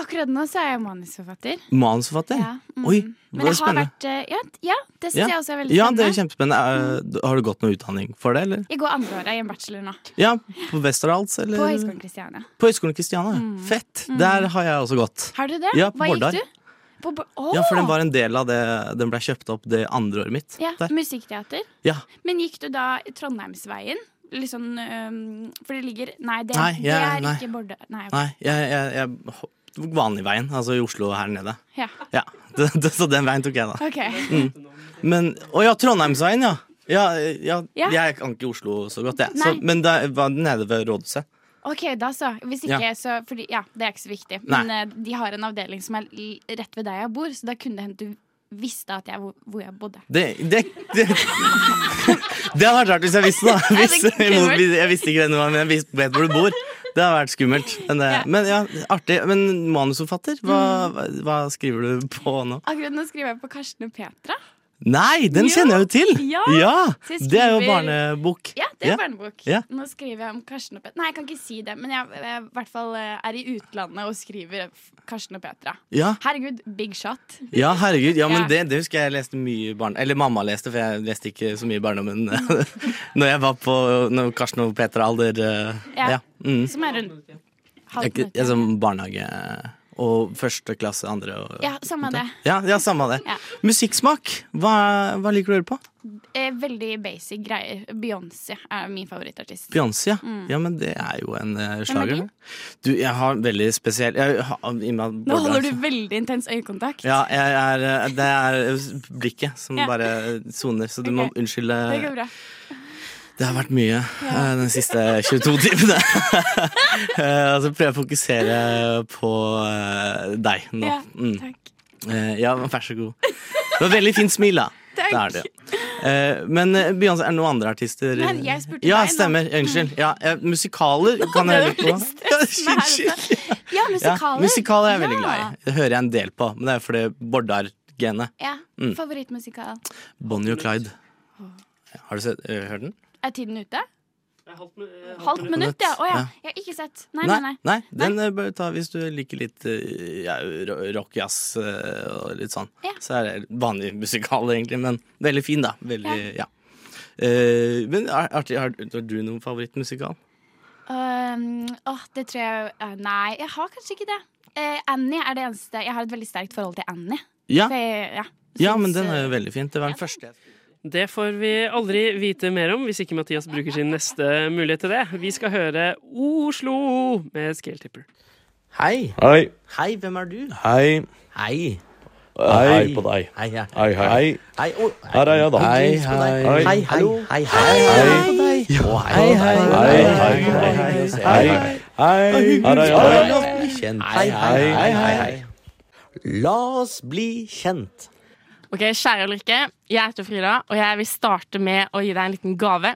Akkurat nå så er jeg manusforfatter.
Manusforfatter?
Ja, mm.
Oi,
Men jeg
det er
har
spennende.
vært eh, Ja, ja det syns jeg også er veldig
ja, det
spennende. Mm.
er kjempespennende. Eh, Har du gått noe utdanning for det, eller?
Jeg går andreåret i en bachelor nå.
Ja, på Westerdals, eller?
På Høgskolen Kristiania.
På Høgskolen Kristiania. Fett!
Mm.
Der har jeg også gått.
Har du det?
Ja, på
Hva
Vårdar.
gikk du? På Bo- Åh!
Ja, for den var en del av det Den ble kjøpt opp det andre året mitt.
Ja,
Der.
Musikkteater.
Ja.
Men gikk du da i Trondheimsveien? Litt sånn øhm, For det ligger Nei, det,
Nei,
det
jeg-
er
nei.
ikke Vårdar. Nei. ok.
Nei, jeg, jeg, jeg tok Vanligveien, altså i Oslo her nede.
Ja.
Ja, det, det, Så den veien tok jeg, da.
OK.
Mm. Men Å ja, Trondheimsveien, ja. Ja, ja,
Ja.
Jeg kan ikke Oslo så godt, jeg. Så,
Nei.
men det var nede ved rådhuset.
OK, da så. Hvis ikke,
Ja.
så fordi, Ja, det er ikke så viktig.
Nei.
Men eh, de har en avdeling som er l- rett ved der jeg bor, så da kunne det hendt du visste at jeg, hvor, hvor jeg bodde.
Det, det, det, det hadde vært rart hvis jeg visste, da.
Ja, det er
Hvis,
skummelt.
jeg visste ikke hvem du var, men jeg visste- vet hvor du bor. Det hadde vært skummelt. Men, det, men ja, artig. Men manusforfatter,
Mm.
hva, hva- hva skriver du på nå?
Akkurat nå skriver jeg på Karsten og Petra.
Nei, den
Jo.
kjenner jeg jo til!
Ja. Så jeg
Det er jo
skriver-
barnebok.
Ja, det er barnebok.
Ja.
Nå skriver jeg om Karsten og Petra. Nei, jeg kan ikke si det, men jeg, jeg i hvert fall eh, er i utlandet og skriver f- Karsten og Petra.
Ja.
Herregud, big shot.
Ja, herregud. Ja, men
Ja.
det, det husker jeg jeg leste mye i barn... Eller mamma leste, for jeg leste ikke så mye i barndommen.
Mm.
når jeg var på når Karsten og Petra alder. eh,
Ja.
Ja. Mm.
Som er rundt
Jeg, er
halv
ikke- jeg er sånn barnehage og første klasse, andre og
Ja, samme det.
Ja, ja samme det.
Ja.
Musikksmak. Hva, hva liker du å høre på?
Eh, veldig basic greier. Beyoncé er min favorittartist.
Beyoncé, ja.
Mm.
Ja, men det er jo en eh,
Hvem er
slager.
din?
Du, jeg har veldig spesiell jeg har, i og med at
Nå holder
Bård-
du veldig intens øyekontakt.
altså. Ja, jeg er, eh, det er blikket som
Ja.
bare soner, så du må
Ok.
unnskylde.
Det går bra.
Det har vært mye eh, de siste 22 timene. Eh, Og så prøver jeg å fokusere på eh, deg nå.
Ja,
Mm.
takk.
Eh, ja, vær så god. Det var veldig fint smil, da.
Takk.
Det er det. Eh, men eh, Beyoncé, er det noen andre artister?
Nei, jeg spurte
ja,
deg nå.
stemmer. Unnskyld. Ja, eh, musikaler kan jeg
Nå ble
høre
det
på.
veldig stress med helvete. Ja,
Ja,
musikaler.
musikaler er jeg veldig
Ja.
glad i. Det hører jeg en del på, men det er fordi Bordar-genet.
Ja,
Mm.
favorittmusikal.
Bonnie og Clyde. Har du sett, eh, hørt den?
Er tiden ute? Halvt minutt,
minutt.
ja. Å ja.
Ja.
Jeg har ikke sett. Nei, nei, nei.
den eh, bør du ta hvis du liker litt eh, ja, ro- rock, jazz eh, og litt sånn. Så er det vanlig musikal, egentlig, men veldig fin, da. Veldig, ja. Eh, men er- artig, har, har du noen favorittmusikal?
Um, åh, det tror jeg eh, Nei, jeg har kanskje ikke det. Eh, Annie er det eneste Jeg har et veldig sterkt forhold til Annie.
Ja.
For jeg- eh, ja.
Ja, men den er jo veldig fint. Det var den første jeg
Det får vi aldri vite mer om hvis ikke Mathias bruker sin neste mulighet til det. Vi skal høre Oslo med Scale Tipper.
Hei.
Hei.
Hei, hvem er du?
Hei.
Hei.
Hei. Hei på deg.
Hei, hei.
Hei, hei.
Hei, å,
Her er jeg, da.
Hei, hei.
Hei,
Hei, hei. Hei, hei. Å, Hei, hei.
Hei, hei. Hei, hei. Her er
La
jeg, da.
oss bli kjent. Hei, hei, hei, hei, hei. La oss bli kjent.
Ok, Kjære Ulrikke, jeg heter Frida, og jeg vil starte med å gi deg en liten gave.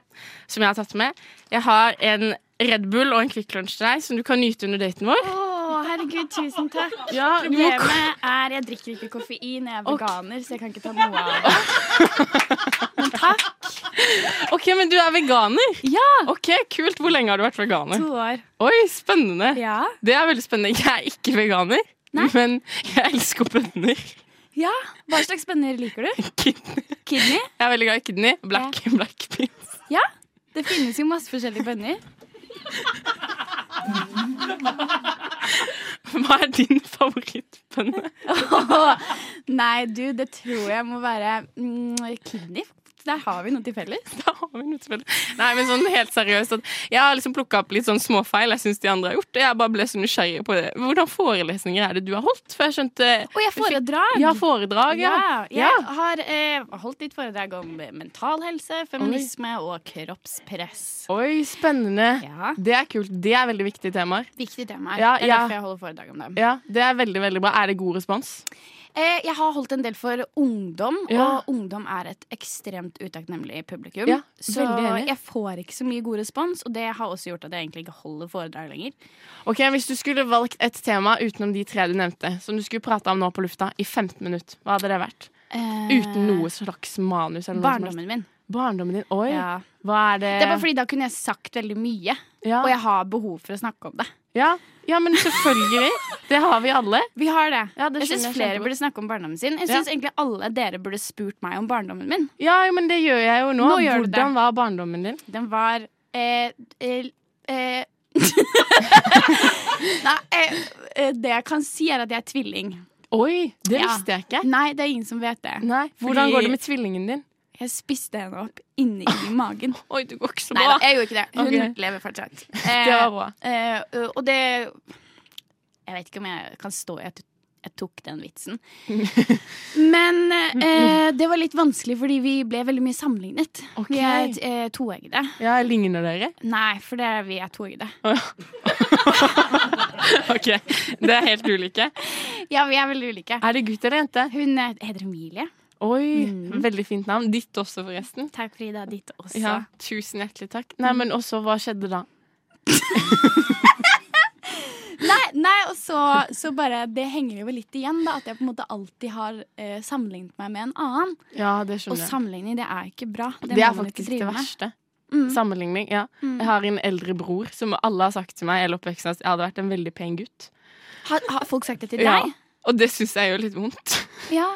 som Jeg har tatt med. Jeg har en Red Bull og en Kvikk Lunsj til deg som du kan nyte under daten vår.
Å, herregud, tusen takk.
Ja, du må-
Problemet er jeg drikker ikke koffein, jeg er veganer, så jeg kan ikke ta noe av det.
Ok, Men du er veganer? Ja Ok, Kult. Hvor lenge har du vært veganer?
To år.
Oi, spennende. Det er veldig spennende. Jeg er ikke veganer, men jeg elsker bønner.
Ja, Hva slags bønner liker du? Kidney?
Jeg er veldig glad i kidney. Black, black beans.
Ja, det finnes jo masse forskjellige bønner.
Hva er din favorittbønne?
Åh, Nei, du, det tror jeg må være mm, kidney. Der har vi noe til felles.
Nei, men sånn helt seriøst at Jeg har liksom plukka opp litt sånn småfeil jeg syns de andre har gjort. og Jeg bare ble så nysgjerrig på det. Hvordan forelesninger er det du har holdt? For jeg skjønte
Og jeg foredrag.
Ja, foredrag, ja.
jeg har eh, holdt litt foredrag om mental helse, feminisme og kroppspress.
Oi, spennende. Det er kult. Det er veldig viktige temaer.
Viktige temaer.
Ja,
det er
ja.
derfor jeg holder foredrag om dem.
Ja, Det er veldig, veldig bra. Er det god respons?
Eh, jeg har holdt en del for ungdom,
Ja.
og ungdom er et ekstremt utakknemlig publikum.
Ja,
så
veldig enig.
jeg får ikke så mye god respons, og det har også gjort at jeg egentlig ikke holder foredrag lenger.
Ok, Hvis du skulle valgt et tema utenom de tre du nevnte, som du skulle prate om nå på lufta i 15 minutter, hva hadde det vært?
Eh,
Uten noe slags manus? Eller noe som helst.
Barndommen min.
Barndommen din? Oi.
Ja.
Hva er det
Det er bare fordi da kunne jeg sagt veldig mye, og jeg har behov for å snakke om det.
ja. ja, men selvfølgelig. Det har vi alle.
Vi har det.
det
jeg syns
skjønner
flere
jeg kjempegodt.
burde snakke om barndommen sin. Jeg
Ja.
syns egentlig alle dere burde spurt meg om barndommen min.
Ja, jo, men det gjør jeg jo nå.
Nå gjør du det.
Hvordan var barndommen din?
Den var eh, eh, eh, Nei, eh, eh, det jeg kan si, er at jeg er tvilling.
Oi, det visste jeg ikke.
Nei, det er ingen som vet det.
Hvordan går det med tvillingen din?
Jeg spiste henne opp inni i magen.
Oi, det går ikke så
Nei
bra.
da, jeg gjorde ikke det. Hun
Ok.
lever fortsatt.
Det var bra.
Eh, eh, og det Jeg vet ikke om jeg kan stå i at jeg tok den vitsen. Men eh, det var litt vanskelig fordi vi ble veldig mye sammenlignet. Vi er eh, toeggede.
Ja, ligner dere?
Nei, for det er vi er toeggede.
Ok, Det er helt ulike.
Ja, vi er veldig ulike.
Er det gutt eller jente?
Hun er- heter Emilie.
Oi, Veldig fint navn. Ditt også, forresten.
Takk, Frida. Ditt Mhm. også. Mhm.
Ja, tusen hjertelig takk. Nei, men også, hva skjedde da?
Nei, nei og så, så bare Det henger jo litt igjen, da. At jeg på en måte alltid har eh, sammenlignet meg med en annen.
Ja, det skjønner
Og
jeg.
sammenligning, det er ikke bra.
Det,
må
er
man ikke
faktisk
drive
det
med.
verste.
Mm.
Sammenligning, ja.
Mm.
Jeg har en eldre bror som alle har sagt til meg i hele oppveksten at jeg hadde vært en veldig pen gutt.
Har, har folk sagt det til
Ja,
deg?
og det syns jeg gjør litt vondt.
Ja.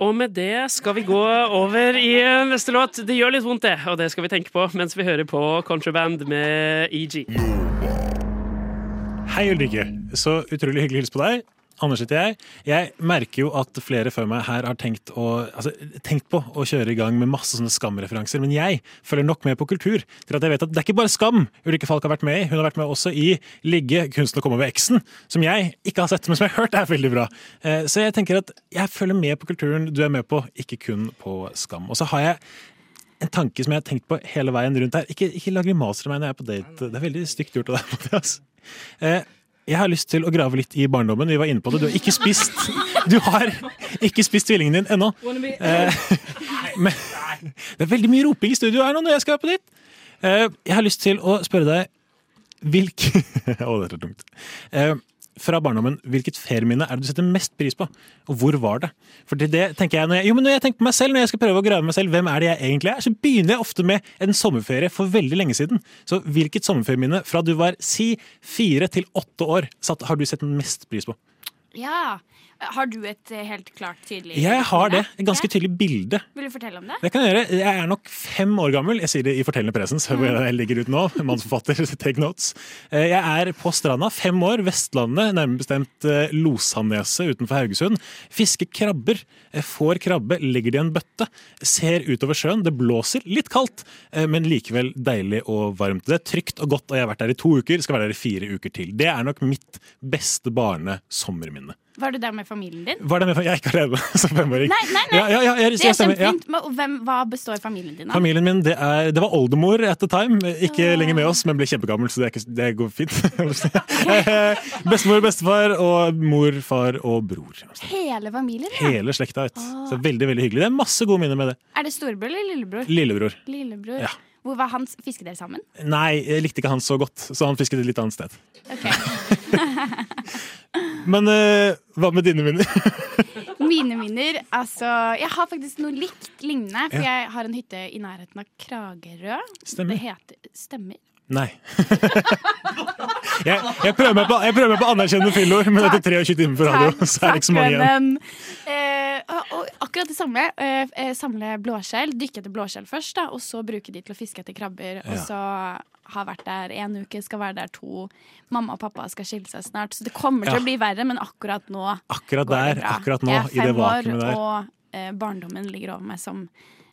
Og med det skal vi gå over i eh, neste låt. Det gjør litt vondt, det, og det skal vi tenke på mens vi hører på Contraband med E EG.
Hei, Ulrikke. Så utrolig hyggelig å hilse på deg. Anders heter jeg. Jeg merker jo at flere før meg her har tenkt, å, altså, tenkt på å kjøre i gang med masse sånne skamreferanser, men jeg følger nok med på kultur til at jeg vet at det er ikke bare skam Ulrikke Falk har vært med i. Hun har vært med også i Ligge, kunsten å komme over eksen, som jeg ikke har sett, men som jeg har hørt er veldig bra. Eh, Så jeg tenker at jeg følger med på kulturen du er med på, ikke kun på skam. Og så har jeg en tanke som jeg har tenkt på hele veien rundt her. Ikke, ikke lag grimaser av meg når jeg er på date. Det er veldig stygt gjort av deg, Mathias. Eh, jeg har lyst til å grave litt i barndommen. Vi var inne på det. Du har ikke spist Du har ikke spist tvillingen din ennå. Eh, Men, det er veldig mye roping i studio her nå når jeg skal på ditt. Eh, jeg har lyst til å spørre deg hvilke Å, dette er tungt. Eh, fra barndommen, hvilket ferieminne er det du setter mest pris på? Og hvor var det? For det tenker jeg når jeg, jo, men når jeg tenker på meg selv, når jeg skal prøve å grave meg selv, hvem er det jeg egentlig er, så begynner jeg ofte med en sommerferie for veldig lenge siden. Så hvilket sommerferieminne fra du var si fire til åtte år satt, har du sett mest pris på?
Ja. Har du et eh, helt klart tydelig
Jeg har det. Et
Ja.
ganske tydelig bilde.
Vil du fortelle om det?
Det kan jeg gjøre. Jeg er nok fem år gammel. Jeg sier det i fortellende presens. hvor jeg ligger ut nå, mannsforfatter, take notes. Eh, Jeg er på stranda, fem år, Vestlandet, nærmere bestemt eh, Losanneset utenfor Haugesund. Fisker krabber. eh, Får krabbe, legger det i en bøtte. Ser utover sjøen, det blåser. Litt kaldt, eh, men likevel deilig og varmt. Det er trygt og godt, og jeg har vært der i to uker, skal være der i fire uker til. Det er nok mitt beste barne-sommerminne.
Var du der med familien din?
Var det med Jeg er ikke alene som
Nei,
femåring.
nei, nei.
Ja, ja, ja, jeg,
det er
jeg stemmer, ja.
kjempefint. Men Hvem, hva består familien din av?
Familien min, det, er, det var oldemor at the time.
Ah.
Ikke lenger med oss, men ble kjempegammel, så det, er ikke, det går fint. Eh, Bestemor, bestefar og mor, far og bror.
Hele familien? ja.
Hele slekta. Vet.
Ah.
du. Så veldig, veldig hyggelig. Det er masse gode minner med det.
Er det storebror eller lillebror?
Lillebror.
Lillebror.
Ja.
Hvor var hans Fisket dere sammen?
Nei, jeg likte ikke han så godt, så han fisket et litt annet sted. Men eh, hva med dine minner?
Mine minner Altså, jeg har faktisk noe likt lignende. For
Ja.
jeg har en hytte i nærheten av Kragerø.
Stemmer.
Det heter Stemmer.
Nei. Jeg, jeg, prøver meg på, jeg prøver meg på anerkjennende fyllord, men etter 23 timer på radio så er det ikke så mange igjen.
Vennen. Eh, og, og akkurat det samme. Eh, eh, samle blåskjell. Dykke etter blåskjell først, da, og så bruke de til å fiske etter krabber.
Ja.
Og så har vært der én uke, skal være der to. Mamma og pappa skal skille seg snart, så det kommer til
Ja.
å bli verre, men akkurat nå går
Akkurat
det
der,
bra.
akkurat nå,
Jeg er
i det
fem år,
vakuumet der.
Og eh, barndommen ligger over meg som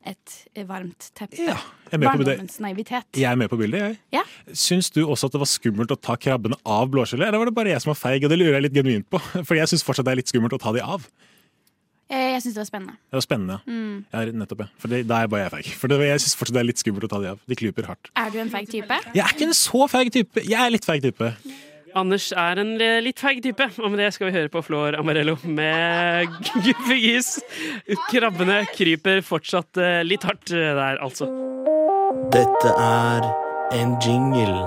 et eh, varmt teppe.
jeg er med på det.
Barndommens naivitet.
Jeg er med på bildet, jeg.
Ja.
Syns du også at det var skummelt å ta krabbene av blåskjellet, eller var det bare jeg som var feig? Og det lurer jeg litt genuint på, for jeg syns fortsatt det er litt skummelt å ta de av.
Eh, jeg syns det var spennende.
Det var spennende. ja.
Mm.
Ja, nettopp, ja. For det, da er bare jeg feig. For det, jeg syns fortsatt det er litt skummelt å ta de av. De klyper hardt.
Er du en feig type?
Jeg er ikke en så feig type. Jeg er litt feig type.
Anders er en li- litt feig type, og med det skal vi høre på Flår Amarello med Guffegis. Krabbene kryper fortsatt eh, litt hardt eh, der, altså.
Dette er en jingle.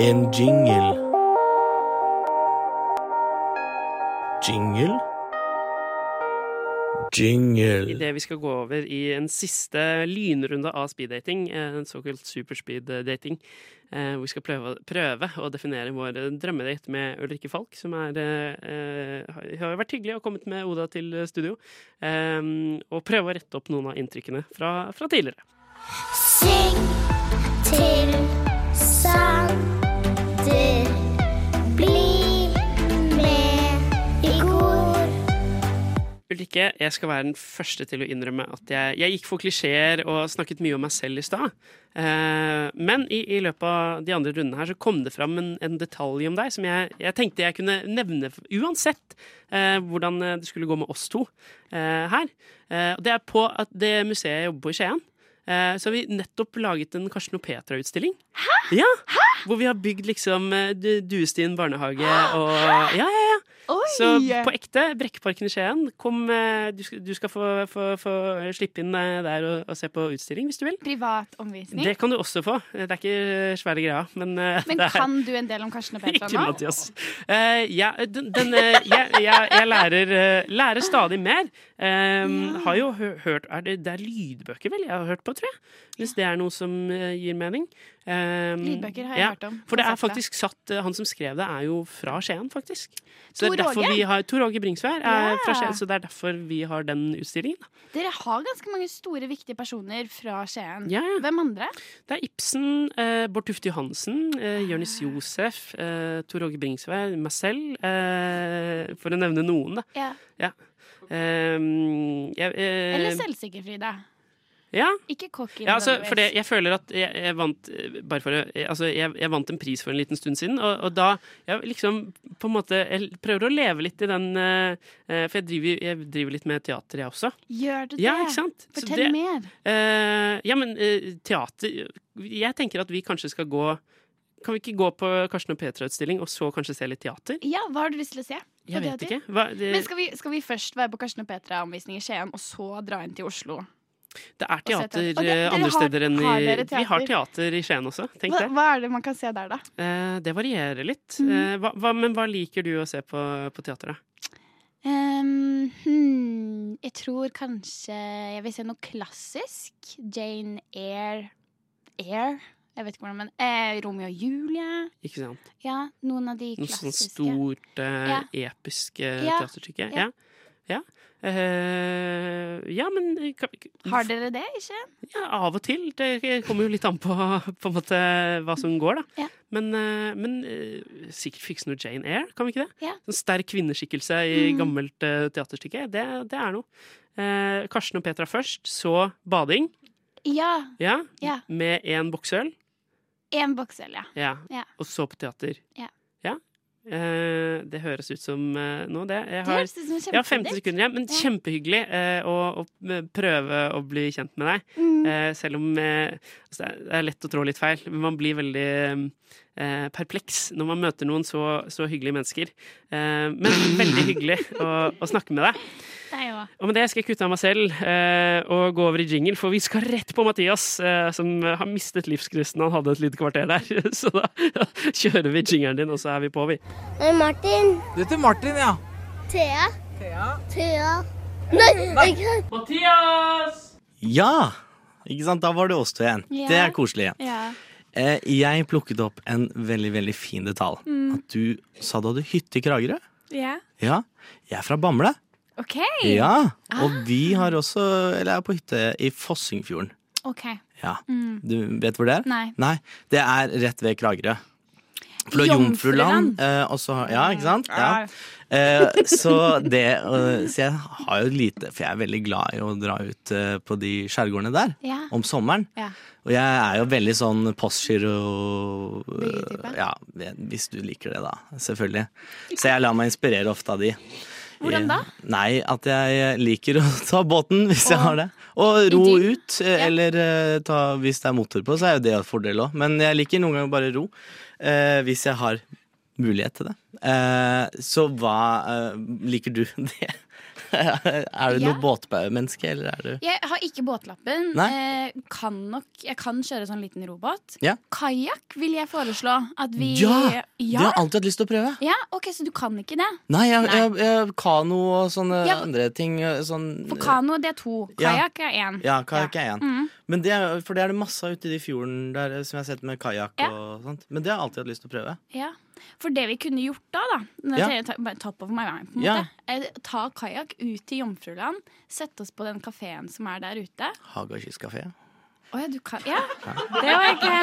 En jingle. Jingle? Jingle.
Idet vi skal gå over i en siste lynrunde av speeddating, eh, en såkalt superspeeddating, eh, hvor vi skal prøve, prøve å definere vår eh, drømmedate med Ulrikke Falk, som er, eh, eh, har vært hyggelig og kommet med Oda til studio, eh, og prøve å rette opp noen av inntrykkene fra, fra tidligere.
Syng til Sander. Bli med i kor.
Ulrikke, jeg skal være den første til å innrømme at jeg, jeg gikk for klisjeer og snakket mye om meg selv i stad. Eh, men i, i løpet av de andre rundene her så kom det fram en, en detalj om deg som jeg, jeg tenkte jeg kunne nevne f- uansett eh, hvordan eh, det skulle gå med oss to eh, her. Eh, og det er på at det museet jeg jobber på i Skien, eh, så har vi nettopp laget en Karsten og Petra-utstilling. Hæ? Ja, Hvor vi har bygd liksom eh, Du- Duestien barnehage og Ja, ja, ja. Så på ekte, Brekkeparken i Skien, kom, eh, du skal, du skal få, få, få slippe inn eh, der og, og se på utstilling hvis du vil.
Privat omvisning?
Det kan du også få. Det er ikke eh, svære greia, men, eh,
Men
det er
kan du en del om Karsten og Petra
ikke
nå?
Mathias. Eh, ja, den, den, eh, jeg, jeg, jeg lærer, eh, lærer stadig mer. Um, Har jo hø hørt er det, det er lydbøker, vel, jeg har hørt på, tror jeg. Hvis det er noe som eh, gir mening. Um,
Lydbøker har jeg hørt om.
For det er
Konseptet.
faktisk satt eh, Han som skrev det, er jo fra Skien, faktisk. Så det
Tor
er derfor
Åge?
vi har Tor Åge Bringsvær er
Ja.
fra Skien, så det er derfor vi har den utstillingen. da.
Dere har ganske mange store, viktige personer fra Skien.
Ja, ja.
Hvem andre?
Det er Ibsen, eh, Bård Tufte Johansen, eh, Jonis Josef, eh, Tor Åge Bringsvær, meg selv, eh, for å nevne noen, da.
Ja.
Ja. Ehm, jeg, eh,
Eller selvsikker, Frida.
Ja.
Ikke cocky.
Ja, altså,
nødvendigvis.
for det, jeg føler at jeg, jeg vant eh, bare for å, eh, altså, jeg, jeg vant en pris for en liten stund siden, og, og da jeg liksom på en måte Jeg prøver å leve litt i den eh, eh, For jeg driver, jeg driver litt med teater, jeg også.
Gjør du det?
Ja, ikke sant? Så
Fortell
det-
mer.
Eh, ja, men eh, teater Jeg tenker at vi kanskje skal gå Kan vi ikke gå på Karsten og Petra-utstilling, og så kanskje se litt teater?
Ja, hva har du lyst til å se?
Jeg
Var
vet
det
ikke. Hva, det,
Men skal vi, skal vi først være på Karsten og Petra-omvisning i Skien, og så dra inn til Oslo?
det er
Og
teater
se teater. Og det-
eh,
dere
andre
har-
steder enn i
har dere
Vi har
teater?
teater i Skien også, tenk
Hva,
det.
hva er det man kan se der, da?
Eh, det varierer litt.
Mm.
Eh, hva, hva, men hva liker du å se på, på teater, da?
Ehm, hmm, jeg tror kanskje jeg vil se noe klassisk. Jane Eyre Eyre? Jeg vet ikke hvordan, men eh, Romeo og Julie.
Ikke sant?
Ja, noen av de
Noe sånn
klassiske.
stort, eh,
Ja.
episk eh,
Ja.
teaterstykke.
Ja.
Ja. Ja. Eh, ja, men eh, kan,
Har dere det, ikke?
ja, Av og til. Det kommer jo litt an på, på en måte, hva som går, da. Men, eh, men eh, sikkert fikse noe Jane Eyre, kan vi ikke det?
Ja.
Sånn sterk kvinneskikkelse i
Mm.
gammelt eh, teaterstykke. Det, det er noe. Eh, Karsten og Petra først, så bading.
Ja.
Ja.
Ja.
Med én boksøl.
Én boksøl, ja.
Ja.
Ja.
Og så på teater.
Ja.
Ja. Eh, det høres ut som eh, nå, det. Jeg
Det
har,
høres ut som kjempehyggelig.
jeg har 50 sekunder igjen, men kjempehyggelig eh, å, å prøve å bli kjent med deg.
Mm.
Eh, selv om eh, altså, det er lett å trå litt feil, men man blir veldig eh, perpleks når man møter noen så, så hyggelige mennesker. Eh, men veldig hyggelig å, å snakke med deg.
Deg òg.
Og med det skal jeg kutte av meg selv eh, og gå over i jingle, for vi skal rett på Mathias, eh, som har mistet livsgnisten. Han hadde et lite kvarter der, så da kjører vi jingeren din, og så er vi på, vi.
Martin.
Du heter Martin, ja.
Thea. Thea. Nei, ikke
Mathias!
Ja! Ikke sant, da var det oss to igjen.
Ja.
Det er koselig.
Ja.
Eh, Jeg plukket opp en veldig, veldig fin detalj.
Mm.
At du sa du hadde hytte i Kragerø?
Ja.
Ja. Jeg er fra Bamble.
OK.
Ja.
Ah.
Og vi har også Eller er på hytte i Fossingfjorden.
OK.
Ja.
Mm.
Du vet hvor det er?
Nei.
Det er rett ved Kragerø. For det er Jomfruland. eh, og så har- ja, ikke sant? Ja. Eh, så det eh, Så jeg har jo lite For jeg er veldig glad i å dra ut eh, på de skjærgårdene der
Ja.
om sommeren.
Ja.
Og jeg er jo veldig sånn postgiro eh,
Byggetype?
Ja, hvis du liker det, da. Selvfølgelig. Så jeg lar meg inspirere ofte av de.
Hvordan da?
Eh, Nei, at jeg liker å ta båten hvis jeg har det. Og ro ut, eh, eller eh, ta, hvis det er motor på, så er jo det en fordel òg. Men jeg liker noen ganger bare ro, eh, hvis jeg har mulighet til det. Eh, så hva eh, liker du det? er du
Ja.
noe båtmenneske, eller er du
Jeg har ikke båtlappen.
Nei.
Eh, kan nok, jeg kan kjøre sånn liten robåt.
Ja.
Kajakk vil jeg foreslå at vi
Ja! Det
Ja!
har jeg alltid hatt lyst til å prøve.
ja ok, så du kan ikke det?
Nei, jeg, jeg, jeg, kano og sånne
Ja.
andre ting. eh, Sånn,
For kano det er to.
Ja.
Kajakk er én.
Ja, kajakk er én.
Mm.
Men det, er- for det er det masse av ute i de fjorden der eh, som jeg har sett med kajakk
Ja.
og sånt. Men det har jeg alltid hatt lyst til å prøve.
Ja. For det vi kunne gjort da, da Nå
Ja.
sier jeg ta- bare top of my mind, på en
Ja.
måte. Eh, Ta kajakk ut til Jomfruland, sette oss på den kafeen som er der ute.
Haga kystkafé.
Å ja, du kan Ja! Det var ikke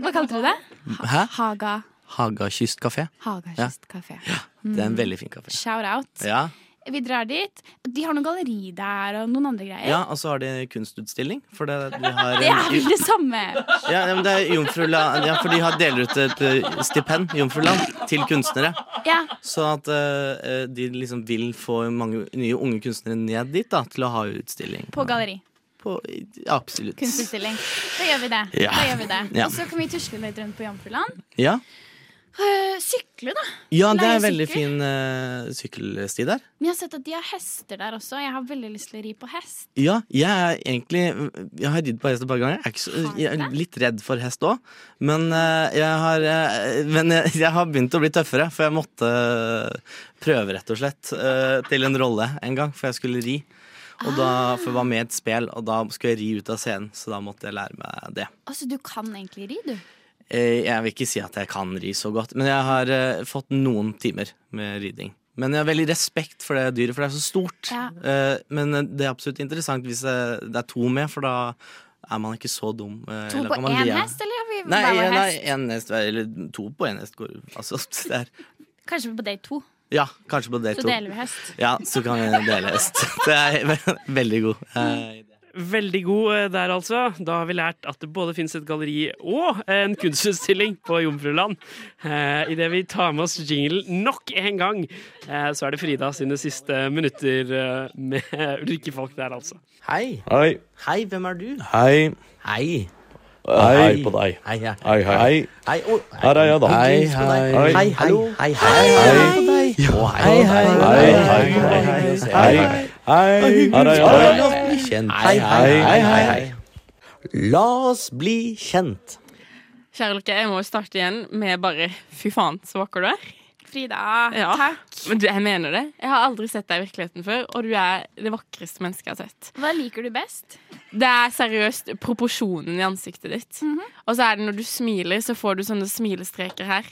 Hva kalte du det?
Hæ?
Haga.
Haga kystkafé.
Haga
Ja.
kystkafé.
Det
Mm.
er en veldig fin kafé.
Shout out.
Ja.
Vi drar dit. De har noe galleri der og noen andre greier.
ja, og så har de kunstutstilling. For det, de har
Det er vel det samme!
ja, ja, men det er Jomfruland Ja, for de har deler ut et eh, stipend, Jomfruland, til kunstnere.
Ja.
Sånn at eh, de liksom vil få mange nye unge kunstnere ned dit da, til å ha utstilling.
På galleri.
Absolutt.
Kunstutstilling. Da gjør vi det.
Ja.
Da gjør vi det.
Ja.
Og så kan vi tusle litt rundt på Jomfruland.
Ja.
Øh, Sykle, da.
ja, det er
Leie
en veldig
sykkel.
fin eh, sykkelsti der.
Men jeg har sett at de har hester der også. Jeg har veldig lyst til å ri på hest.
Ja, jeg er egentlig Jeg har ridd på hest et par ganger. Jeg er, ikke så, jeg er litt redd for hest òg. Men, eh, jeg, har, eh, men jeg, jeg har begynt å bli tøffere, for jeg måtte eh, prøve, rett og slett, eh, til en rolle en gang, for jeg skulle ri. Og da, for jeg var med i et spel, og da skulle jeg ri ut av scenen, så da måtte jeg lære meg det.
Altså, du kan egentlig ri, du.
Eh, Jeg vil ikke si at jeg kan ri så godt, men jeg har eh, fått noen timer med riding. Men jeg har veldig respekt for det dyret, for det er så stort.
Ja.
Eh, Men det er absolutt interessant hvis eh, det er to med, for da er man ikke så dum. eh,
To
eller
på
kan man
én
le av-
hest, eller har vi
Nei,
hver vår
nei,
hest?
en hest, eller to på én hest. Går, altså, det er,
Kanskje på date to.
ja, kanskje på det
Så
to.
deler vi hest.
Ja, så kan vi dele hest. Det er ve- veldig god. Eh,
Veldig god eh, der, altså. Da har vi lært at det både finnes et galleri og en kunstutstilling på Jomfruland. Eh, Idet vi tar med oss jinglen nok en gang, eh, så er det Frida sine siste minutter eh, med Ulrikke Falk der, altså.
Hei.
Hei.
Hei, hvem er du?
Hei.
Hei.
Hei. Hei på deg.
Hei, hei.
Hei, hei.
Hei, oi.
Her er jeg, da.
Hei, hei.
Hei,
Hei, hei. Hei, hei. Hei, hei.
Jo, hei, hei, hei, hei, hei, hei, hei, hei, hei. La oss bli kjent. Hei, hei, hei, hei. La oss bli kjent.
Kjære Lukke, jeg må jo starte igjen med bare fy faen, så vakker du er.
Frida,
Ja.
takk.
Men du, jeg mener det. Jeg har aldri sett deg i virkeligheten før, og du er det vakreste mennesket jeg har sett.
Hva liker du best?
Det er seriøst proporsjonen i ansiktet ditt.
Mhm.
Og så er det når du smiler, så får du sånne smilestreker her.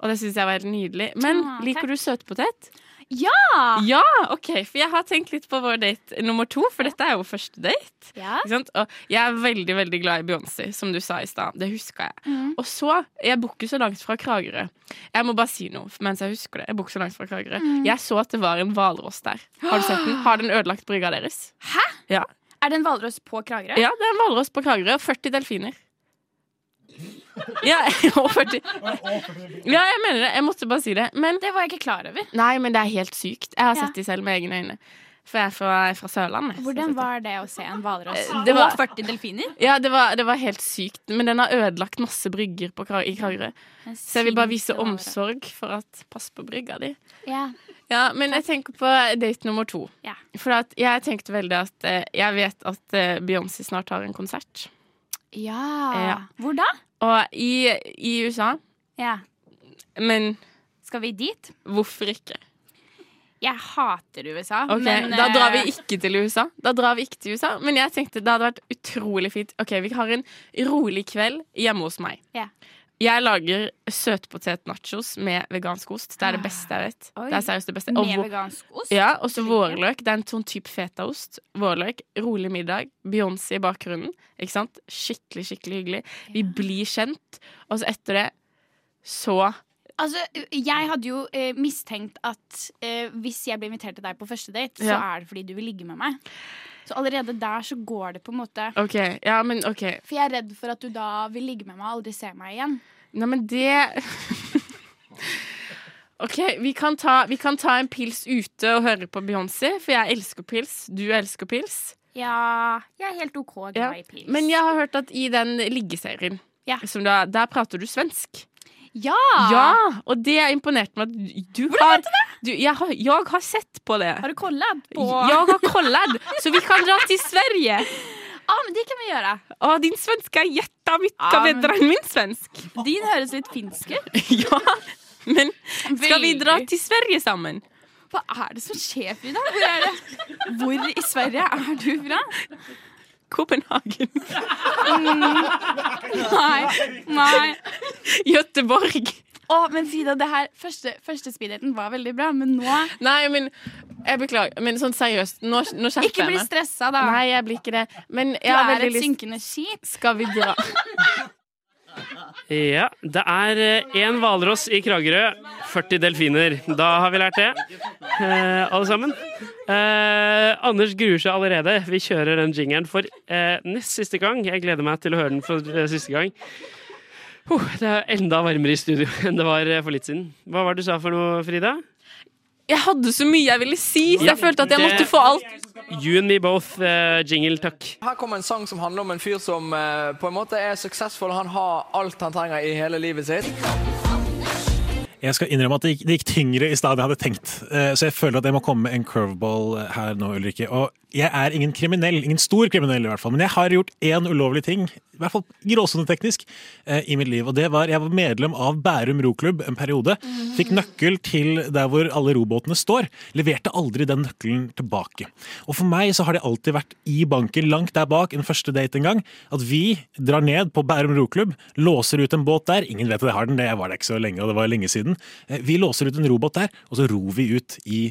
Og det syns jeg var helt nydelig. Men
Ah,
liker
takk. Ah.
du søtpotet?
Ja!
Ja, OK, for jeg har tenkt litt på vår date nummer to, for dette er jo første date.
Ja.
Ikke sant? Og jeg er veldig veldig glad i Beyoncé, som du sa i stad. Det huska jeg.
Mhm.
Og så Jeg bor ikke så langt fra Kragerø. Jeg må bare si noe mens jeg husker det. Jeg bor ikke så langt fra Kragerø.
Mhm.
Jeg så at det var en hvalross der. Har du sett den? Har den ødelagt brygga deres? Hæ? Ja.
Er det en hvalross på Kragerø?
Ja, det er en hvalross på Kragerø og 40 delfiner. Ja, og 40 Ja, jeg mener det. Jeg måtte bare si det. Men
Det var jeg ikke klar over.
Nei, men det er helt sykt. Jeg har
Ja.
sett de selv med egne øyne. For jeg er fra, jeg er fra Sørlandet. så jeg
Hvordan
har sett
var det å se en hvalross?
Eh, det var-
Og 40 delfiner?
det. Ja, det var, det var helt sykt. Men den har ødelagt masse brygger på, Kra- i Kragerø.
En
Så jeg vil bare
sinte
vise
hvalross.
omsorg for at Pass på brygga di.
Ja.
Ja, men jeg tenker på date nummer to.
Ja.
For at jeg tenkte veldig at eh, jeg vet at eh, Beyoncé snart har en konsert.
Ja.
Ja.
Hvor da?
Og i, i USA.
Ja.
Men
Skal vi dit?
hvorfor ikke?
Jeg hater USA,
Ok,
men
Da drar vi
eh,
ikke til USA. Da drar vi ikke til USA. Men jeg tenkte det hadde vært utrolig fint. Ok, Vi har en rolig kveld hjemme hos meg.
Ja.
Jeg lager søtpotet-nachos med vegansk ost. Det er det beste jeg vet.
Ah, Oi.
Det er seriøst det beste.
Med
hvor-
vegansk ost?
Ja, Og så vårløk. Det er en sånn type fetaost. Vårløk, rolig middag, Beyoncé i bakgrunnen. Ikke sant? Skikkelig, skikkelig hyggelig. Vi blir kjent. Og så etter det, så
Altså, jeg hadde jo eh, mistenkt at eh, hvis jeg ble invitert til deg på første date, så
Ja.
er det fordi du vil ligge med meg. Så allerede der så går det på en måte
OK. Ja, men OK.
For jeg er redd for at du da vil ligge med meg og aldri se meg igjen.
Nei, men det OK, vi kan, ta, vi kan ta en pils ute og høre på Beyoncé, for jeg elsker pils. Du elsker pils.
Ja, jeg er helt OK
Ja.
glad i pils.
Men jeg har hørt at i den liggeserien, som da, der prater du svensk.
Ja!
Ja, Og det imponerte meg. at Du Hvordan vet du det? Du, jeg, har, jeg har sett på det.
Har du kollad på
Jeg har kollad, så vi kan dra til Sverige.
ah, men det kan vi gjøre.
Å, din svenske er gjetta mitt,
Ja, Ah, men-
bedre enn min svensk.
Din høres litt finsk ut.
Men skal vi dra til Sverige sammen?
Hva er det som skjer, Frida? Hvor, er det? Hvor i Sverige er du fra?
Kopenhagen.
Mm. Nei. Nei.
Göteborg.
Å, men Frida, det her Første, første speeddaten var veldig bra, men nå
Nei, men jeg beklager. Men sånn seriøst, nå, nå skjerper jeg meg.
Ikke bli stressa, da.
Nei, jeg blir ikke det. Men
Du
jeg har
er
veldig
et
lyst
synkende skip.
Skal vi dra?
Ja, det er én hvalross i Kragerø, 40 delfiner. Da har vi lært det, eh, alle sammen. Eh, Anders gruer seg allerede. Vi kjører den jingeren for eh, nest siste gang. Jeg gleder meg til å høre den for eh, siste gang. Huh, det er enda varmere i studio enn det var eh, for litt siden. Hva var det du sa for noe, Frida?
Jeg hadde så mye jeg ville si, så
Ja,
jeg følte at jeg
det-
måtte få alt.
You and me both, eh, jingle, takk.
Her kommer en sang som handler om en fyr som eh, på en måte er suksessfull. Han har alt han trenger i hele livet sitt.
Jeg skal innrømme at det gikk, det gikk tyngre i stedet enn jeg hadde tenkt. Eh, Så jeg føler at jeg må komme med en curveball eh, her nå, Ulrikke. Og jeg er ingen kriminell, ingen stor kriminell i hvert fall, men jeg har gjort én ulovlig ting, i hvert fall gråsoneteknisk, eh, i mitt liv. Og det var jeg var medlem av Bærum roklubb en periode. Fikk nøkkel til der hvor alle robåtene står. Leverte aldri den nøkkelen tilbake. Og for meg så har det alltid vært i banken, langt der bak, en første date en gang, at vi drar ned på Bærum roklubb, låser ut en båt der. Ingen vet at jeg har den, det var det ikke så lenge, og det var lenge siden. Eh, Vi låser ut en robåt der, og så ror vi ut i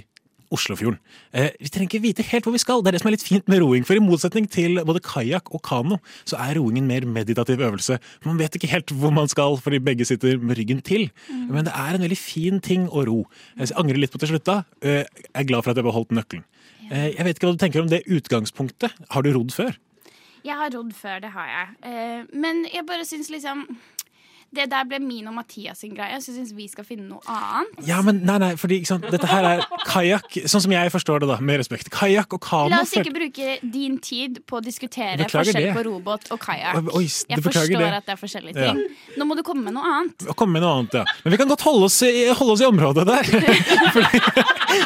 Oslofjorden. Eh, vi trenger ikke vite helt hvor vi skal, det er det som er litt fint med roing. For i motsetning til både kajakk og kano, så er roing en mer meditativ øvelse. Man vet ikke helt hvor man skal, fordi begge sitter med ryggen til. Men det er en veldig fin ting å ro. Eh, Jeg angrer litt på til slutt da. Eh, jeg er glad for at jeg beholdt nøkkelen. Eh, jeg vet ikke hva du tenker om det utgangspunktet. Har du rodd før?
Jeg har rodd før, det har jeg. Eh, men jeg bare syns liksom det der ble min og Mathias sin greie, så jeg syns vi skal finne noe annet.
Ja, men nei, nei, fordi ikke sant? dette her er kajakk Sånn som jeg forstår det, da, med respekt. Kajakk og kano
La oss ikke bruke din tid på å diskutere
Beklager
forskjell
det.
på robåt og kajakk.
Oi,
Jeg
det beklager
forstår
det.
at det er forskjellige ting. Nå må du komme med noe annet.
Å komme med noe annet, ja. Men vi kan godt holde oss i, holde oss i området der. Fordi,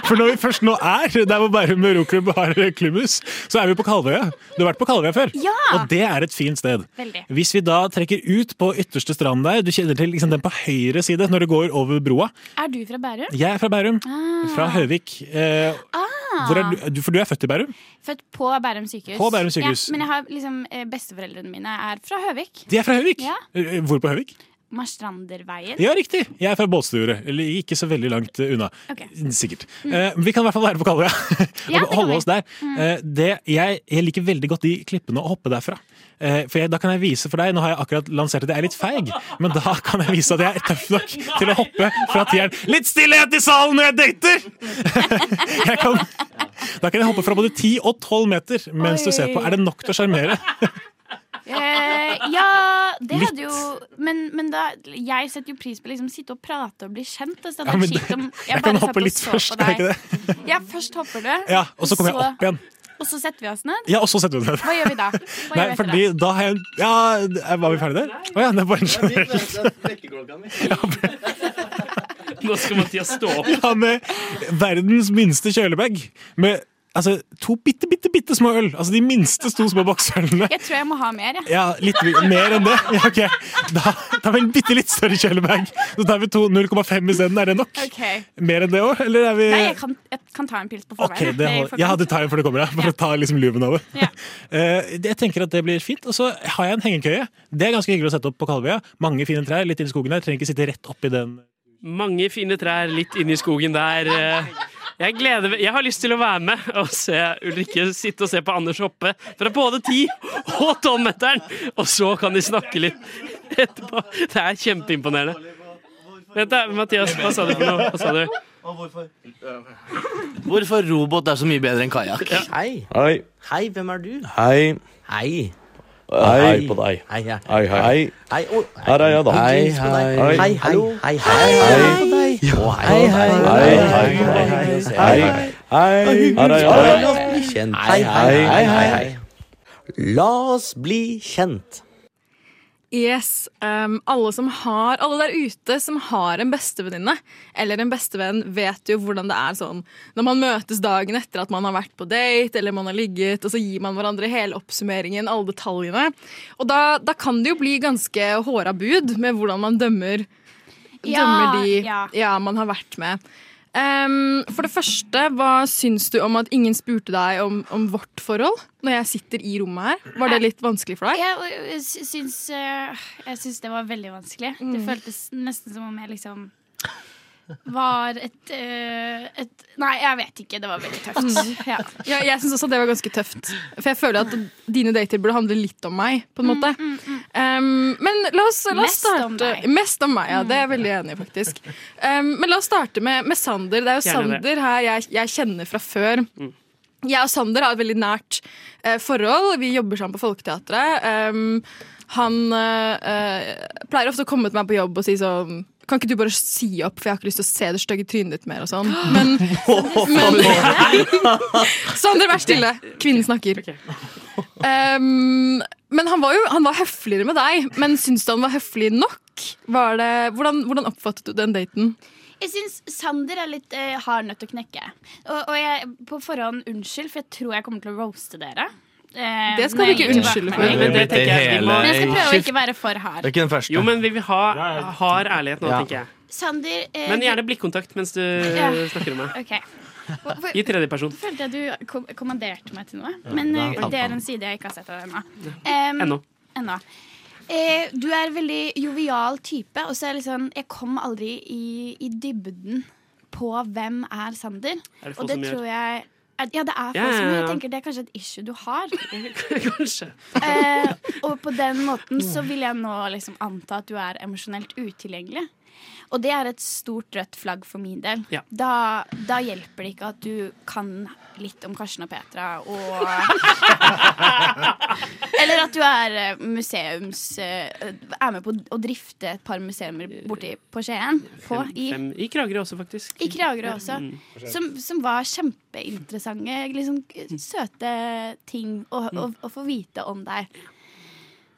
for når vi først nå er der hvor Bærum roklubb har klubbhus, så er vi på Kalvøya. Du har vært på Kalvøya før,
Ja!
og det er et fint sted.
Veldig.
Hvis vi da trekker ut på ytterste stranden der, du kjenner til liksom den på høyre side når du går over broa.
Er du fra Bærum?
Jeg er fra Bærum,
Ah.
fra Høvik. Eh,
Ah.
hvor er du- du, for du er født i Bærum?
Født på Bærum sykehus.
På Bærum sykehus.
Ja, men jeg har liksom eh, besteforeldrene mine er fra Høvik.
De er fra Høvik!
Ja.
Eh, Hvor på Høvik?
Marstranderveien.
Ja, riktig! Jeg er fra Båtsfjordet. Eller ikke så veldig langt eh, unna.
Ok.
Sikkert.
Mm.
Eh, vi kan i hvert fall være på Kalvøya
Ja, det kan
og
vi.
holde oss der.
Mm.
Eh, det, jeg, jeg liker veldig godt de klippene å hoppe derfra. Eh, for jeg, da kan jeg vise for deg Nå har jeg akkurat lansert at jeg er litt feig, men da kan jeg vise at jeg er tøff nok til å hoppe fra tieren. Litt stillhet i salen når jeg dater! jeg kan, da kan jeg hoppe fra både 10 og 12 meter mens du ser på.
Oi.
Er det nok til å sjarmere?
Eh, ja, det
Litt.
hadde jo Men, men da, jeg setter jo pris på å liksom, sitte og prate og bli kjent. Altså, det
Ja,
hadde
men
vært kjipt om
jeg kan
bare
hoppe
satt og
litt
så
først,
på
kan jeg
deg.
ikke
Ja, først hopper du.
Ja, og så kommer jeg opp igjen.
Og så setter vi oss ned.
Ja, og så setter vi oss ned.
Hva gjør vi da? Hva
Nei,
gjør vi etter
fordi
det?
da har jeg Ja, var vi ferdige der? Å ja, det er bare en generell
Nå skal Mathias stå opp.
Ja, med verdens minste kjølebag. Med altså, to bitte, bitte, bitte små øl. Altså de minste to små boksølene.
Jeg tror jeg må ha mer, jeg.
Ja, litt mi- mer enn det. Ja, ok. Da tar vi en bitte litt større kjølebag. Så tar vi to 0,5 isteden. Er det nok?
Ok.
Mer enn det òg, eller er vi
Nei, jeg kan, jeg kan ta en pils på
Ok,
forveien.
det holder. Jeg hadde time før det kommer, jeg. Bare ta liksom luven av det. Eh, Jeg tenker at det blir fint. Og så har jeg en hengekøye. Det er ganske hyggelig å sette opp på Kalvøya. Mange fine trær litt inn i skogen der. Trenger ikke sitte rett oppi den.
Mange fine trær litt inni skogen der. Eh, Jeg, gleder, meg- jeg har lyst til å være med og se Ulrikke sitte og se på Anders hoppe fra både 10 og 12-meteren, og så kan de snakke litt etterpå. Det er kjempeimponerende. Vent, da, Mathias. Hva sa du for noe? Hva sa du?
Hvorfor robot er så mye bedre enn kajakk? Hei.
Hei.
Hei, hvem er du?
Hei.
Hei.
Hei på deg.
Hei, hei.
Hei, hei.
Hei, å,
Her er jeg, da.
Hei, hei.
Hei.
Hei, hei. Hei, hei. Å, hei.
Hei, hei. Hei. Hei. Her er jeg, da.
La oss bli kjent. Hei, hei, hei, hei, hei. La oss bli kjent.
Yes, ehm, alle, som har, alle der ute som har en bestevenninne eller en bestevenn, vet jo hvordan det er sånn når man møtes dagen etter at man har vært på date eller man har ligget, og så gir man hverandre hele oppsummeringen, alle detaljene. Og da, da kan det jo bli ganske håra bud med hvordan man dømmer,
Ja,
dømmer de
ja.
ja, man har vært med. Ehm, for det første, hva syns du om at ingen spurte deg om, om vårt forhold når jeg sitter i rommet her? Var det litt vanskelig for deg?
Jeg, jeg, syns, eh, jeg syns det var veldig vanskelig. Det
Mm.
føltes nesten som om jeg liksom var et, eh, et Nei, jeg vet ikke. Det var veldig tøft.
Mm.
Ja.
Ja, jeg syns også det var ganske tøft. For jeg føler at dine dater burde handle litt om meg. på en måte Um, Men la oss,
Mm,
la oss
Mest
starte
om deg. Mm.
Mest om meg, ja. Det er jeg veldig enig i, faktisk. Um, men la oss starte med, med Sander. Det er jo
Gjerne det. Mm.
Sander her jeg, jeg kjenner fra før. Jeg og Sander har et veldig nært eh, forhold. Vi jobber sammen på Folketeatret. Um, han eh, eh, pleier ofte å komme til meg på jobb og si sånn Kan ikke du bare si opp, for jeg har ikke lyst til å se det stygge trynet ditt mer og sånn. Men, men Sander, vær stille. Kvinnen snakker. Um, men han var jo han var høfligere med deg. Men syns du han var høflig nok? Var det, hvordan, hvordan oppfattet du den daten?
Jeg syns Sander er litt eh, hard nødt til å knekke. Og, og jeg på forhånd unnskyld, for jeg tror jeg kommer til å roaste dere. Eh,
Det skal du
når jeg
ikke
gir
unnskylde for.
tilbakemelding.
Men det
tenker jeg vi må-
Men jeg skal prøve å ikke være for hard.
ikke den første. Jo, men vi vil ha hard ærlighet nå,
Ja.
tenker jeg.
Sander eh,
Men gjerne blikkontakt mens du
Ja.
snakker om meg.
Ok. Hvor- hvor-
I tredjeperson.
Følte jeg du kom kommanderte meg til noe. Men
Ja,
eh,
det er
det er
sant.
en side jeg ikke har sett av deg ennå.
Ennå.
Ennå. Eh, du er en veldig jovial type, og så er jeg litt sånn Jeg kom aldri i, i dybden på hvem er Sander.
Er det få
og det
som gjør?
tror jeg er- ja, det er folk
Ja, ja,
som gjør. Jeg
ja.
tenker Det er kanskje et issue du har.
Kanskje.
Mm.
Eh, og på den måten så vil jeg nå liksom anta at du er emosjonelt utilgjengelig. Og det er et stort rødt flagg for min del.
Ja.
Da, da hjelper det ikke at du kan litt om Karsten og Petra og Eller at du er eh, museums eh, Er med på å drifte et par museer borti på Skien. På, i,
Fem, I Kragerø også, faktisk.
I Kragerø også.
Mm.
Som, som var kjempeinteressante, liksom, søte ting å, å,
Mm.
å få vite om deg.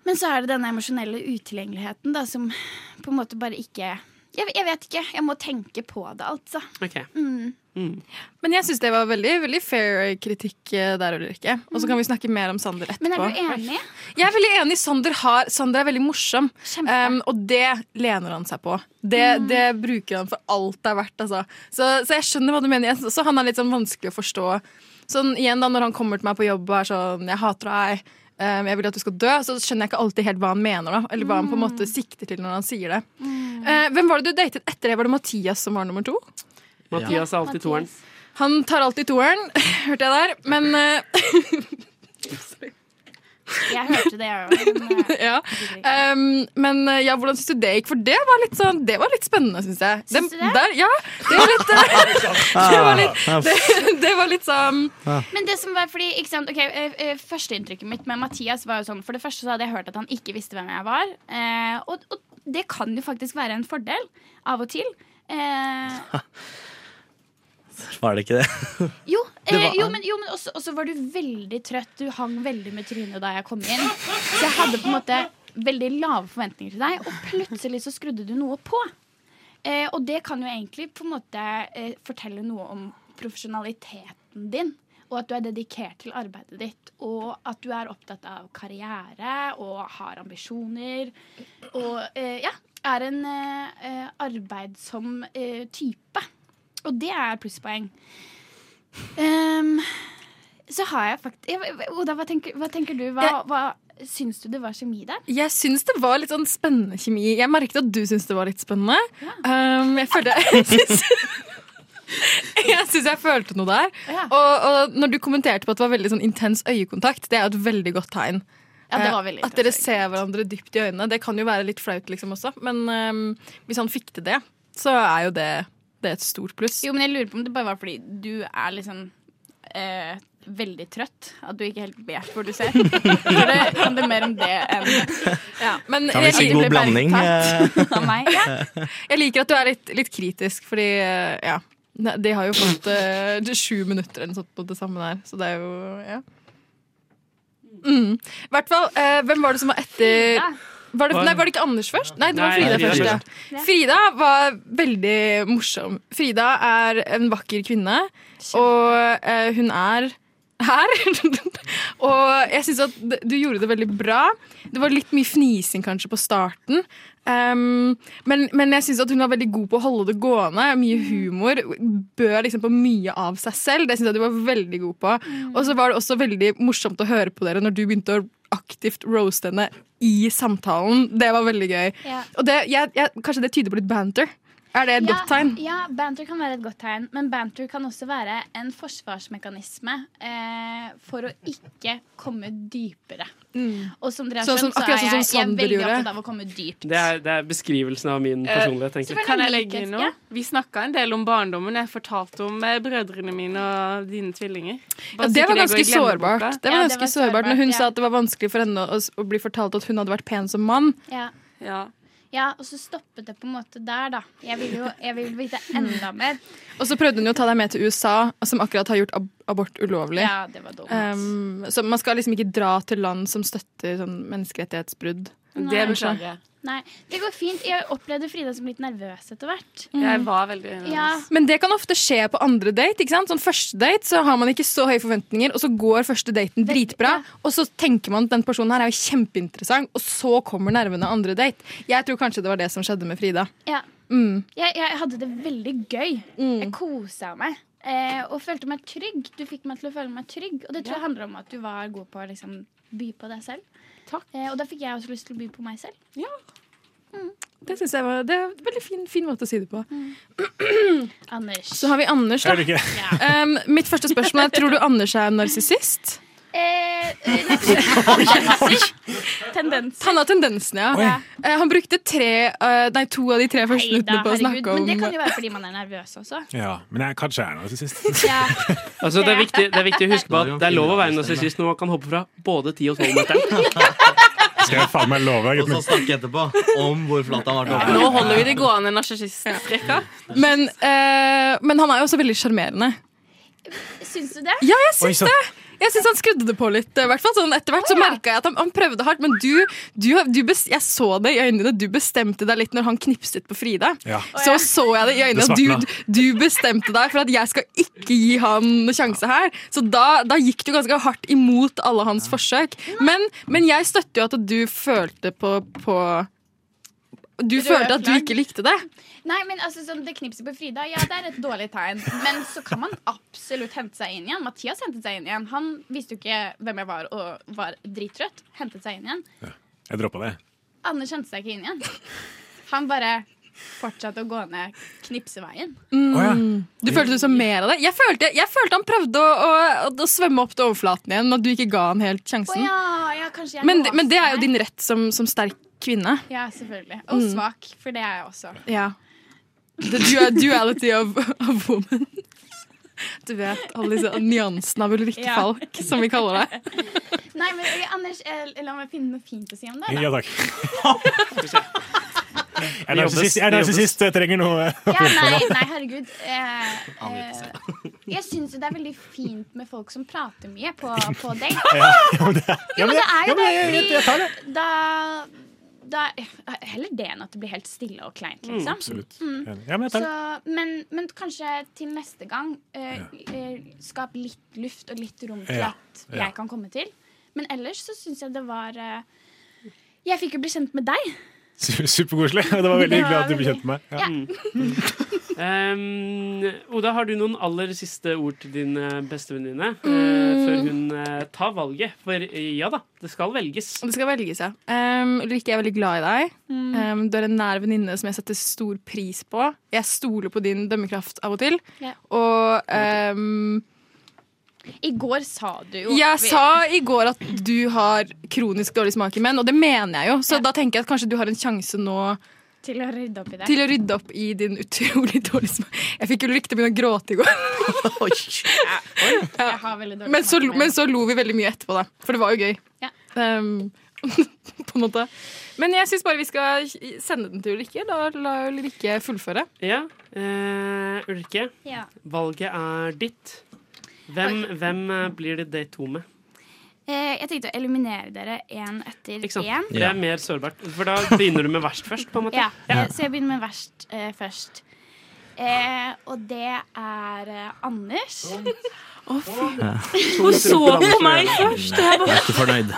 Men så er det denne emosjonelle utilgjengeligheten da, som på en måte bare ikke jeg, jeg vet ikke. Jeg må tenke på det, altså.
Ok.
Mm.
Men jeg syns det var veldig, veldig fair kritikk eh, der, Ulrikke. Og så kan vi snakke mer om Sander etterpå.
Men er du enig?
Jeg er veldig enig. Sander, har, Sander er veldig morsom. Um, og det lener han seg på. Det,
Mm.
det bruker han for alt det er verdt. Altså. Så, så jeg skjønner hva du mener. Jeg- Så han er litt sånn vanskelig å forstå. Sånn igjen da, Når han kommer til meg på jobb og er sånn 'jeg hater deg', um, 'jeg vil at du skal dø', så skjønner jeg ikke alltid helt hva han mener. da Eller hva han på en
Mm.
måte sikter til når han sier det. Eh, hvem var det du datet etter det? Var det Mathias som var nummer to?
Mathias er alltid toeren.
Han tar alltid toeren, hørte jeg der. Men eh,
Jeg hørte det, eh, jeg òg.
ja. Um, men eh, ja, hvordan syns du det gikk? For det var litt, sånn, det var litt spennende, syns jeg.
Syns du det?
Der, ja, det var litt, eh, det var litt, det, det var litt sånn
Men det som var fordi, ikke sant, ok, eh, eh, Førsteinntrykket mitt med Mathias var jo sånn For det første så hadde jeg hørt at han ikke visste hvem jeg var. eh, og, og det kan jo faktisk være en fordel av og til. Eh,
Var det ikke det?
jo,
Det
eh,
var
jo,
han.
men, jo, men også, også var du veldig trøtt. Du hang veldig med trynet da jeg kom inn. Så jeg hadde på en måte veldig lave forventninger til deg, og plutselig så skrudde du noe på. Eh, og det kan jo egentlig på en måte eh, fortelle noe om profesjonaliteten din. Og at du er dedikert til arbeidet ditt, og at du er opptatt av karriere og har ambisjoner. Og eh, ja, er en eh, eh, arbeidsom eh, type. Og det er plusspoeng. Ehm, så har jeg faktisk Oda, hva tenker, hva tenker du? Hva, hva syns du det var kjemi der?
Jeg syns det var litt sånn spennende kjemi. Jeg merket at du syns det var litt spennende. Um, jeg følte jeg syns jeg, synes jeg følte noe der. Og, og når du kommenterte på at det var veldig sånn intens øyekontakt, det er jo et veldig godt tegn.
Ja, det var
Eh,
veldig
at dere ser hverandre dypt i øynene. Det kan jo være litt flaut liksom også, men um, hvis han fikk til det, så er jo det, det er et stort pluss.
Jo, men jeg lurer på om det bare var fordi du er liksom eh, veldig trøtt. At du ikke helt vet hvor du ser. For det handler mer om det enn
Ja, men
Kan vi
jeg
si
liker-
god blanding? eh?
bergtatt
av meg.
Ja. Jeg liker at du er litt, litt kritisk, fordi eh, ja, ne- de har jo fått eh, det er sju minutter eller noe sånt på det samme der, så det er jo ja. Mm. I hvert fall, eh, hvem var det som var etter var det, nei, var det ikke Anders først? Nei, det var
Nei,
Frida
Frida
først.
først.
Ja. Frida var veldig morsom. Frida er en vakker kvinne, og eh, hun er her. og jeg syns at d- du gjorde det veldig bra. Det var litt mye fnising kanskje på starten. Um, men, men jeg syns at hun var veldig god på å holde det gående. Mye humor. Bød liksom på mye av seg selv. Det syns jeg du var veldig god på. Og så var det også veldig morsomt å høre på dere når du begynte å aktivt roaste henne i samtalen. Det var veldig gøy.
Ja.
Og det, jeg, jeg, kanskje det tyder på litt banter? Er det et godt tegn?
Ja, banter kan være et godt tegn, men banter kan også være en forsvarsmekanisme eh, for å ikke komme dypere. Og som dere har
Sånn
skjønt,
som-
så
akkurat
er
sånn
jeg,
som
jeg er
Sander
veldig
gjorde.
opptatt av å komme dypt.
Det er, det er beskrivelsen av min
Eh,
personlighet, tenker jeg.
Kan
Kan
jeg
jeg legge inn noe? Vi snakka en del om barndommen. Jeg fortalte om eh, brødrene mine og dine tvillinger.
Ja,
Bare så
det
ikke
var
går i
ganske
glemmeboka.
sårbart. Det var ganske sårbart Når hun sa at det var vanskelig for henne å, å bli fortalt at hun hadde vært pen som mann.
Ja.
Ja.
og så stoppet det på en måte der, da. Jeg vil jo jeg vil vite enda
Mm.
mer.
Og så prøvde hun jo å ta deg med til USA, som akkurat har gjort ab abort ulovlig.
Ja, det var dumt.
Um, så man skal liksom ikke dra til land som støtter sånn menneskerettighetsbrudd.
Nei.
Kanskje.
Nei, det går fint. Jeg opplevde Frida som litt nervøs etter hvert.
Jeg var veldig
Mm.
nervøs.
Ja.
Men det kan ofte skje på andre date. ikke sant? Sånn Første date så har man ikke så høye forventninger, og så går første daten dritbra. Og så tenker man at den personen her er jo kjempeinteressant, og så kommer nervene andre date. Jeg tror kanskje det var det som skjedde med Frida.
Ja.
Mm.
Jeg, jeg hadde det veldig gøy. Jeg kosa meg. Eh, og følte meg trygg. Du fikk meg til å føle meg trygg. Og det tror jeg handler om at du var god på å liksom, by på deg selv. Eh, og da fikk jeg også lyst til å by på meg selv.
Det synes jeg var det er en veldig fin, fin måte å si det på.
Anders.
Så har vi Anders, da.
Er det ikke?
Um, mitt første spørsmål er tror du Anders er en narsissist.
Eh, Tendenser.
Han har tendensene, ja.
Oi.
Eh, Han brukte tre, eh, nei, to av de tre første
Nei da,
minuttene på å
herregud.
snakke om
Men det kan jo være fordi man er nervøs også.
Ja, men jeg, kanskje jeg er narsissist.
Altså, det, er viktig, det er viktig å huske på at det er lov å være narsissist når man kan hoppe fra både 10- og 12-meteren.
Skal jeg faen meg love deg,
Og så snakke etterpå om hvor flatt han har vært
Nå
oppe.
holder vi det gående narsissisttrekka.
Men, eh, men han er jo også veldig sjarmerende.
Syns du det?
Ja, jeg
Oi,
syns
så-
det! Jeg syns han skrudde det på litt. eh, hvert fall. Sånn, etter hvert så merka jeg at han, han prøvde hardt, men du, du, har- du bes, jeg så det i øynene dine. Du bestemte deg litt når han knipset på Frida.
Ja.
Så så jeg det i øynene.
Det
at Du,
svartna.
du bestemte deg for at jeg skal ikke gi han noen sjanse her. Så da, da gikk du ganske hardt imot alle hans forsøk. Men, men jeg støtter jo at du følte på, på Du
Røde
følte at du
flagg.
ikke likte det.
Nei, men altså, sånn, Det knipset på Frida ja, det er et dårlig tegn, men så kan man absolutt hente seg inn igjen. Mathias hentet seg inn igjen. Han visste jo ikke hvem jeg var, og var drittrøtt. Hentet seg inn igjen.
Jeg droppa det.
Anders hentet seg ikke inn igjen. Han bare fortsatte å gå ned knipseveien. Mm.
Du følte du så mer av det? Jeg følte, jeg følte han prøvde å, å, å svømme opp til overflaten igjen, men at du ikke ga han helt
Å
sjansen.
ja, ja, kanskje jeg
men,
låste
men det er jo
meg.
din rett som, som sterk kvinne.
Ja, selvfølgelig. Og
Mm.
svak, for det er jeg også.
Ja. The du- duality of, of woman. Du vet alle disse nyansene av Ulrikke
Ja.
Falk, som vi kaller det.
Nei, men eh, Anders, eh, la meg finne noe fint å si om det.
Ja takk. Jeg er
Det jobbes,
narsissist, jeg er
det
narsissist, jeg eh, trenger noe
Ja, nei, nei, herregud. Eh, eh, jeg syns jo det er veldig fint med folk som prater mye på, på date.
Ja, ja, men det er
Jo, men det er jo
ja, men jeg-
det,
jeg- jeg tar det.
fordi da, da Heller det enn at det blir helt stille og kleint,
Mm,
liksom.
absolutt.
Mm.
Enig. Ja, men jeg tar
Så, men, men kanskje til neste gang eh, eh, skap litt luft og litt rom til
Ja.
at
Ja.
jeg kan komme til. Men ellers så syns jeg det var eh, Jeg fikk jo bli kjent med deg.
Su- Superkoselig. og Det var veldig
Det
hyggelig
var
at du ble kjent med meg. Ja.
Um, Oda, har du noen aller siste ord til din eh, bestevenninne eh,
Mm.
før hun eh, tar valget? For eh, ja da, det skal velges.
Det skal velges, ja. Um, Ulrikke, jeg er veldig glad i deg.
Mm.
Um, du er en nær venninne som jeg setter stor pris på. Jeg stoler på din dømmekraft av og til.
Ja.
Og um,
I går sa du jo
Jeg sa i går at du har kronisk dårlig smak i menn, og det mener jeg jo. Så da tenker jeg at kanskje du har en sjanse nå
Til å rydde opp i det.
til å rydde opp i din utrolig dårlige smak. Jeg fikk jo lykke til å begynne å gråte i går.
Jeg har veldig dårlig
Men så,
smak i meg.
men så lo vi veldig mye etterpå, da. For det var jo gøy.
Ja.
Um, på en måte. Men jeg syns bare vi skal sende den til Ulrikke. Da la Ulrikke fullføre.
Ja, eh, Ulrikke.
Ja.
Valget er ditt. Hvem, hvem eh, blir det date to med?
Eh, jeg tenkte å eliminere dere én etter
Ikke sant?
én.
For Det er mer sårbart. For da begynner du med verst først, på en måte.
Ja, eh, Så jeg begynner med verst eh, først. Eh, og det er eh, Anders. Å,
Hun så på meg først. og jeg bare-
ikke fornøyd.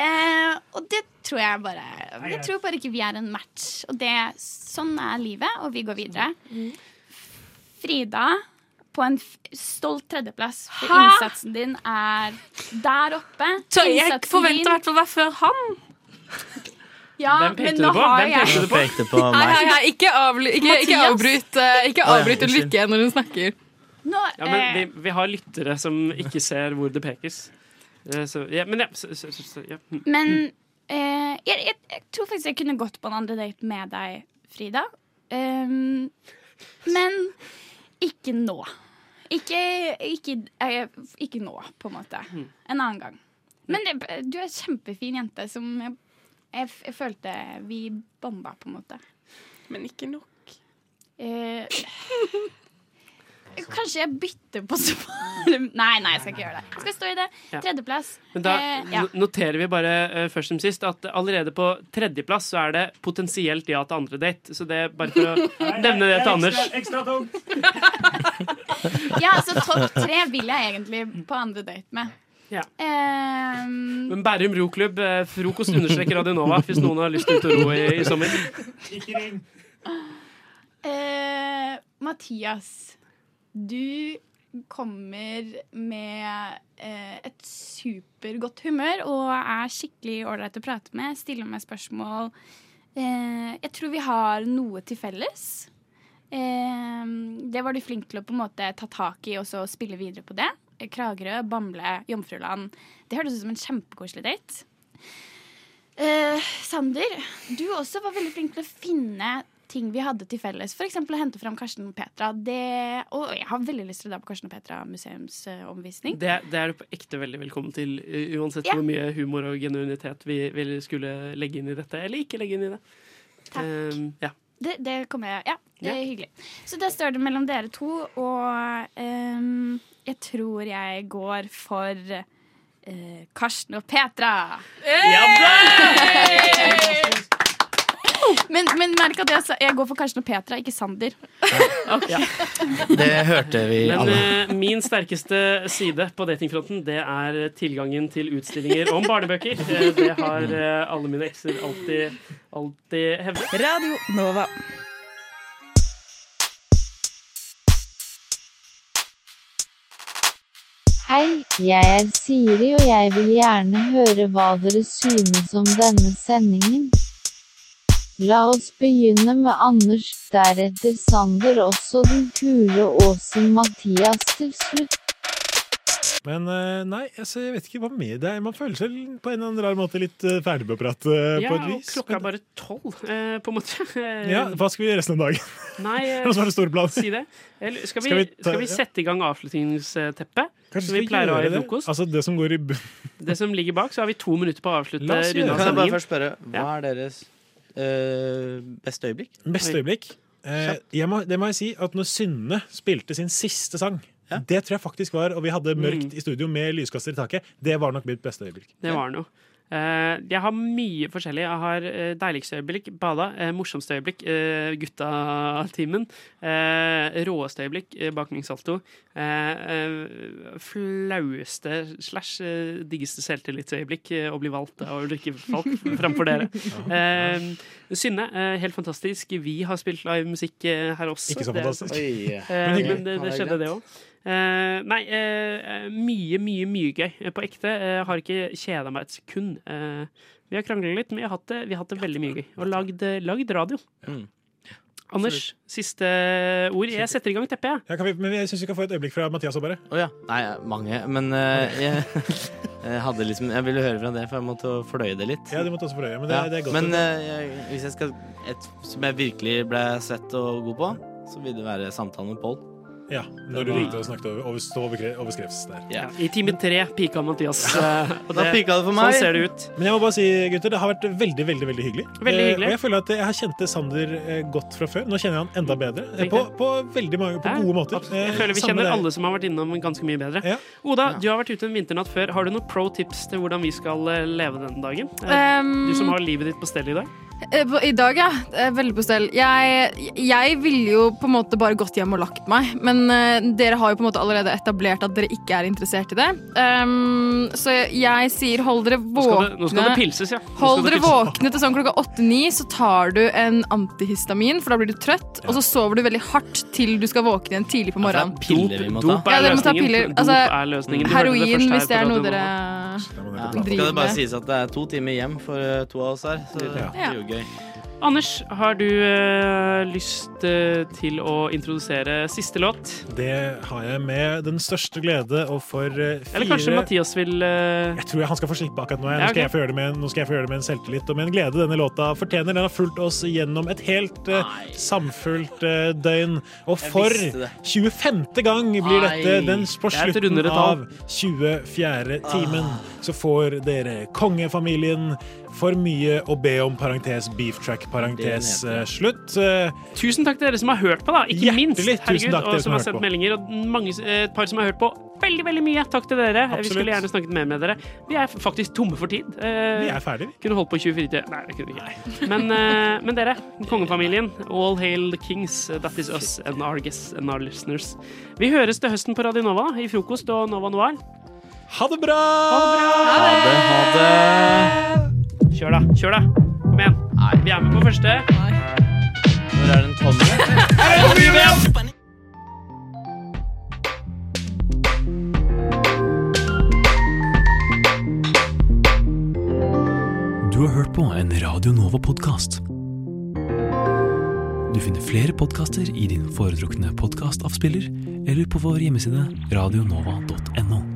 Eh, og det tror jeg bare Jeg tror bare ikke vi er en match. Og det, sånn er livet, og vi går videre. Frida på en f stolt tredjeplass, for
Hæ?
innsatsen din er der oppe.
Så jeg
Innsatsen
forventer
din-
i hvert fall å være før han.
Ja,
Hvem pekte
men
du
nå
på?
har
Hvem
jeg
pekte du
Du pekte på
Nei,
meg.
nei, nei, ikke, avly ikke, ikke
Mathias.
avbryt, eh, ikke
Å ja,
avbryt
unnskyld.
Ulrikke når hun snakker.
Nå, eh,
Ja, men vi, vi har lyttere som ikke ser hvor det pekes. Eh, Så, ja, men ja, så, så, så, så, ja. Mm.
Men eh, jeg, jeg, jeg tror faktisk jeg kunne gått på en andre date med deg, Frida. Ehm, men ikke nå. Ikke, ikke, eh, ikke nå, på en måte.
Mm.
En annen gang. Men det, du er en kjempefin jente som jeg, jeg, f- jeg følte vi bonda, på en måte.
Men ikke nok.
Eh, kanskje jeg bytter på svar Nei, nei, jeg skal ikke gjøre det. Jeg skal stå i det.
Ja.
Tredjeplass.
Men da
Eh, ja.
no- noterer vi bare eh, først som sist at allerede på tredjeplass så er det potensielt ja til andre date. Så det er bare for å nevne det til Anders.
Ekstra tung.
Ja, så topp tre vil jeg egentlig på andre date med.
Ja.
Ehm,
Men Bærum roklubb, eh, frokost understreker Radionova hvis noen har lyst til å ro i, i sommer.
eh, Mathias, du kommer med eh, et supergodt humør og er skikkelig ålreit å prate med. Stiller meg spørsmål. Eh, jeg tror vi har noe til felles. Eh, det var du flink til å på en måte ta tak i og så spille videre på det. Kragerø, Bamble, Jomfruland. Det hørtes ut som en kjempekoselig date. Eh, Sander, du også var veldig flink til å finne ting vi hadde til felles. F.eks. å hente fram Karsten og Petra. Det, og jeg har veldig lyst til å dra på Karsten og Petra museumsomvisning.
Det, det er du på ekte veldig velkommen til, u- uansett
Ja.
hvor mye humor og genuinitet vi, vi skulle legge inn i dette, eller ikke legge inn i det.
Takk.
Ehm, ja.
Det, det kommer jeg Ja, det er
Ja.
hyggelig. Så der står det mellom dere to, og ehm, jeg tror jeg går for eh, Karsten og Petra. Men, men merk at jeg, sa- jeg går for Karsten og Petra, ikke Sander.
Det hørte vi
Men
alle.
eh, min sterkeste side på datingfronten, det er tilgangen til utstillinger om barnebøker. Eh, det har
Mm.
eh, alle mine ekser alltid, alltid hevdet.
Radio Nova.
Hei, jeg er Siri og jeg vil gjerne høre hva dere synes om denne sendingen. La oss begynne med Anders, deretter Sander, også den kule Åsen Mathias til slutt.
Men eh, nei, altså, jeg vet ikke hva med det er. Man føler seg på en eller annen rar måte litt eh, ferdig med å prate eh,
Ja,
på et
og
vis.
klokka er bare tolv, eh, på en måte. Eh,
Ja, hva skal vi gjøre resten av dagen?
Nei, eh,
Hva som er det store planen?
Si det. Eller, skal, vi,
Skal
skal,
vi ta-
vi
ja.
sette i gang avslutningsteppet?
Kanskje
Som vi
skal
pleier å ha
gjøre
i
det?
frokost?
Altså det som går i bunn.
Det som ligger bak, så har vi to minutter på å avslutte
La oss gjøre det.
runde av
Kan jeg bare
sendingen.
først spørre,
Ja.
Hva er deres eh, beste øyeblikk?
Beste øyeblikk? Eh, jeg må, det må jeg si at når Synne spilte sin siste sang Det tror jeg faktisk var, og vi hadde
Mm.
mørkt i studio med lyskasser i taket. Det var nok mitt beste øyeblikk.
Det var noe. Eh, jeg har mye forskjellig. Jeg har eh, deiligste øyeblikk, bada. eh, morsomste øyeblikk, eh, gutta-timen. eh, råeste øyeblikk, uh, baklengs-salto. eh, eh, flaueste slash eh, diggeste selvtillitsøyeblikk, eh, å bli valgt av drikkefalk framfor dere. Eh, Synne, eh, helt fantastisk. Vi har spilt live musikk eh, her også.
Ikke så
Det er-
fantastisk. Oi.
Eh,
Men hyggelig.
men det, det
Ja, det er
skjedde, det òg. nei, eh, mye, mye, mye gøy. Eh, På ekte. eh, har ikke kjeda meg et sekund. Eh, vi har krangla litt, men vi har hatt det, vi har hatt det veldig mye gøy. Og lagd, eh, lagd radio.
Mm.
Anders, siste ord. Jeg setter i gang teppet, jeg.
Ja, kan vi, men jeg syns vi kan få et øyeblikk fra Mathias og bare.
Å ja. Nei, mange. Men eh, jeg, jeg hadde liksom Jeg ville høre fra det, for jeg måtte fløye det litt.
Ja, du måtte også prøve, men det,
Ja,
det er godt.
men eh, jeg, hvis jeg skal Et som jeg virkelig ble svett og god på, så vil det være samtalen med Pål.
ja, når du
Mm.
ringte og snakket over, over, stå over, kre- over skrevs der.
I time tre pika Mathias. eh, og
Da pika det for meg.
Sånn ser det ut.
Men jeg må bare si, gutter, det har vært veldig veldig, veldig hyggelig.
Veldig
Eh,
hyggelig.
og jeg føler at jeg har kjent Sander eh, godt fra før. Nå kjenner jeg han enda bedre. eh,
Riktig.
På, på veldig mange, på
Ja,
gode måter. Eh,
Jeg føler vi kjenner alle som har vært innom ganske mye bedre. Oda, du har vært ute en vinternatt før. Har du noen pro tips til hvordan vi skal eh, leve denne dagen? Eh,
Um,
du som har livet ditt på stell i dag.
Eh, på- I dag, ja. Eh, Veldig på stell. Jeg, jeg ville jo på en måte bare gått hjem og lagt meg, men eh, dere har jo på en måte allerede etablert at dere ikke er interessert i det. Ehm, så jeg, jeg sier hold dere
Nå skal det,
våkne.
nå skal det pilses, ja. Nå skal
Hold
det
dere
pilses.
våkne til sånn klokka 8-9, så tar du en antihistamin, for da blir du trøtt, og så sover du veldig hardt til du skal våkne igjen tidlig på morgenen.
Piller vi må ta.
Ja, dere må ta piller. Altså, heroin, hvis det er noe dere
Ja.
driver
Skal det bare
med.
sies at det er to timer hjem for eh, to av oss her, så det
Ja.
blir jo gøy.
Anders, har du eh, lyst eh, til å introdusere siste låt?
Det har jeg med den største glede og for eh, fire
Eller kanskje Mathias vil eh,
Jeg tror jeg han skal få slippe akkurat nå. jeg.
Ja,
Nå
ok.
skal jeg få gjøre det med en, nå skal jeg få gjøre det med en selvtillit og med en glede denne låta fortjener. Den har fulgt oss gjennom et helt eh, samfullt eh, døgn. Og
Jeg
for
visste det.
25. gang blir dette
Nei.
den på
Det er et
slutten
rundere tall. Ah.
av 24. timen. Så får dere kongefamilien for mye å be om, parentes beef track, parentes eh, slutt. Eh,
Tusen takk til dere som har hørt på, da. Ikke minst.
Hjertelig tusen takk til
og
dere som
som
har
har
hørt på.
sendt meldinger. Og mange, eh, et par som har hørt på veldig, veldig mye. Takk til dere. Vi
Absolutt.
skulle gjerne snakket mer med dere. Vi er faktisk tomme for tid. Eh,
Vi er ferdig,
Kunne holdt på i 24 timer. Nei, det kunne vi ikke. Men, eh, men dere, kongefamilien, all hail the kings. That is us and our guests and our listeners. Vi høres til høsten på Radio Nova, i frokost og Nova Noir.
Ha det bra!
Kjør, da. Kjør, da. Kom igjen. Vi er med på første.
Hvor er den tommelen?
Du har hørt på en Radio Nova-podkast. Du finner flere podkaster i din foretrukne podkastavspiller eller på vår hjemmeside radionova.no.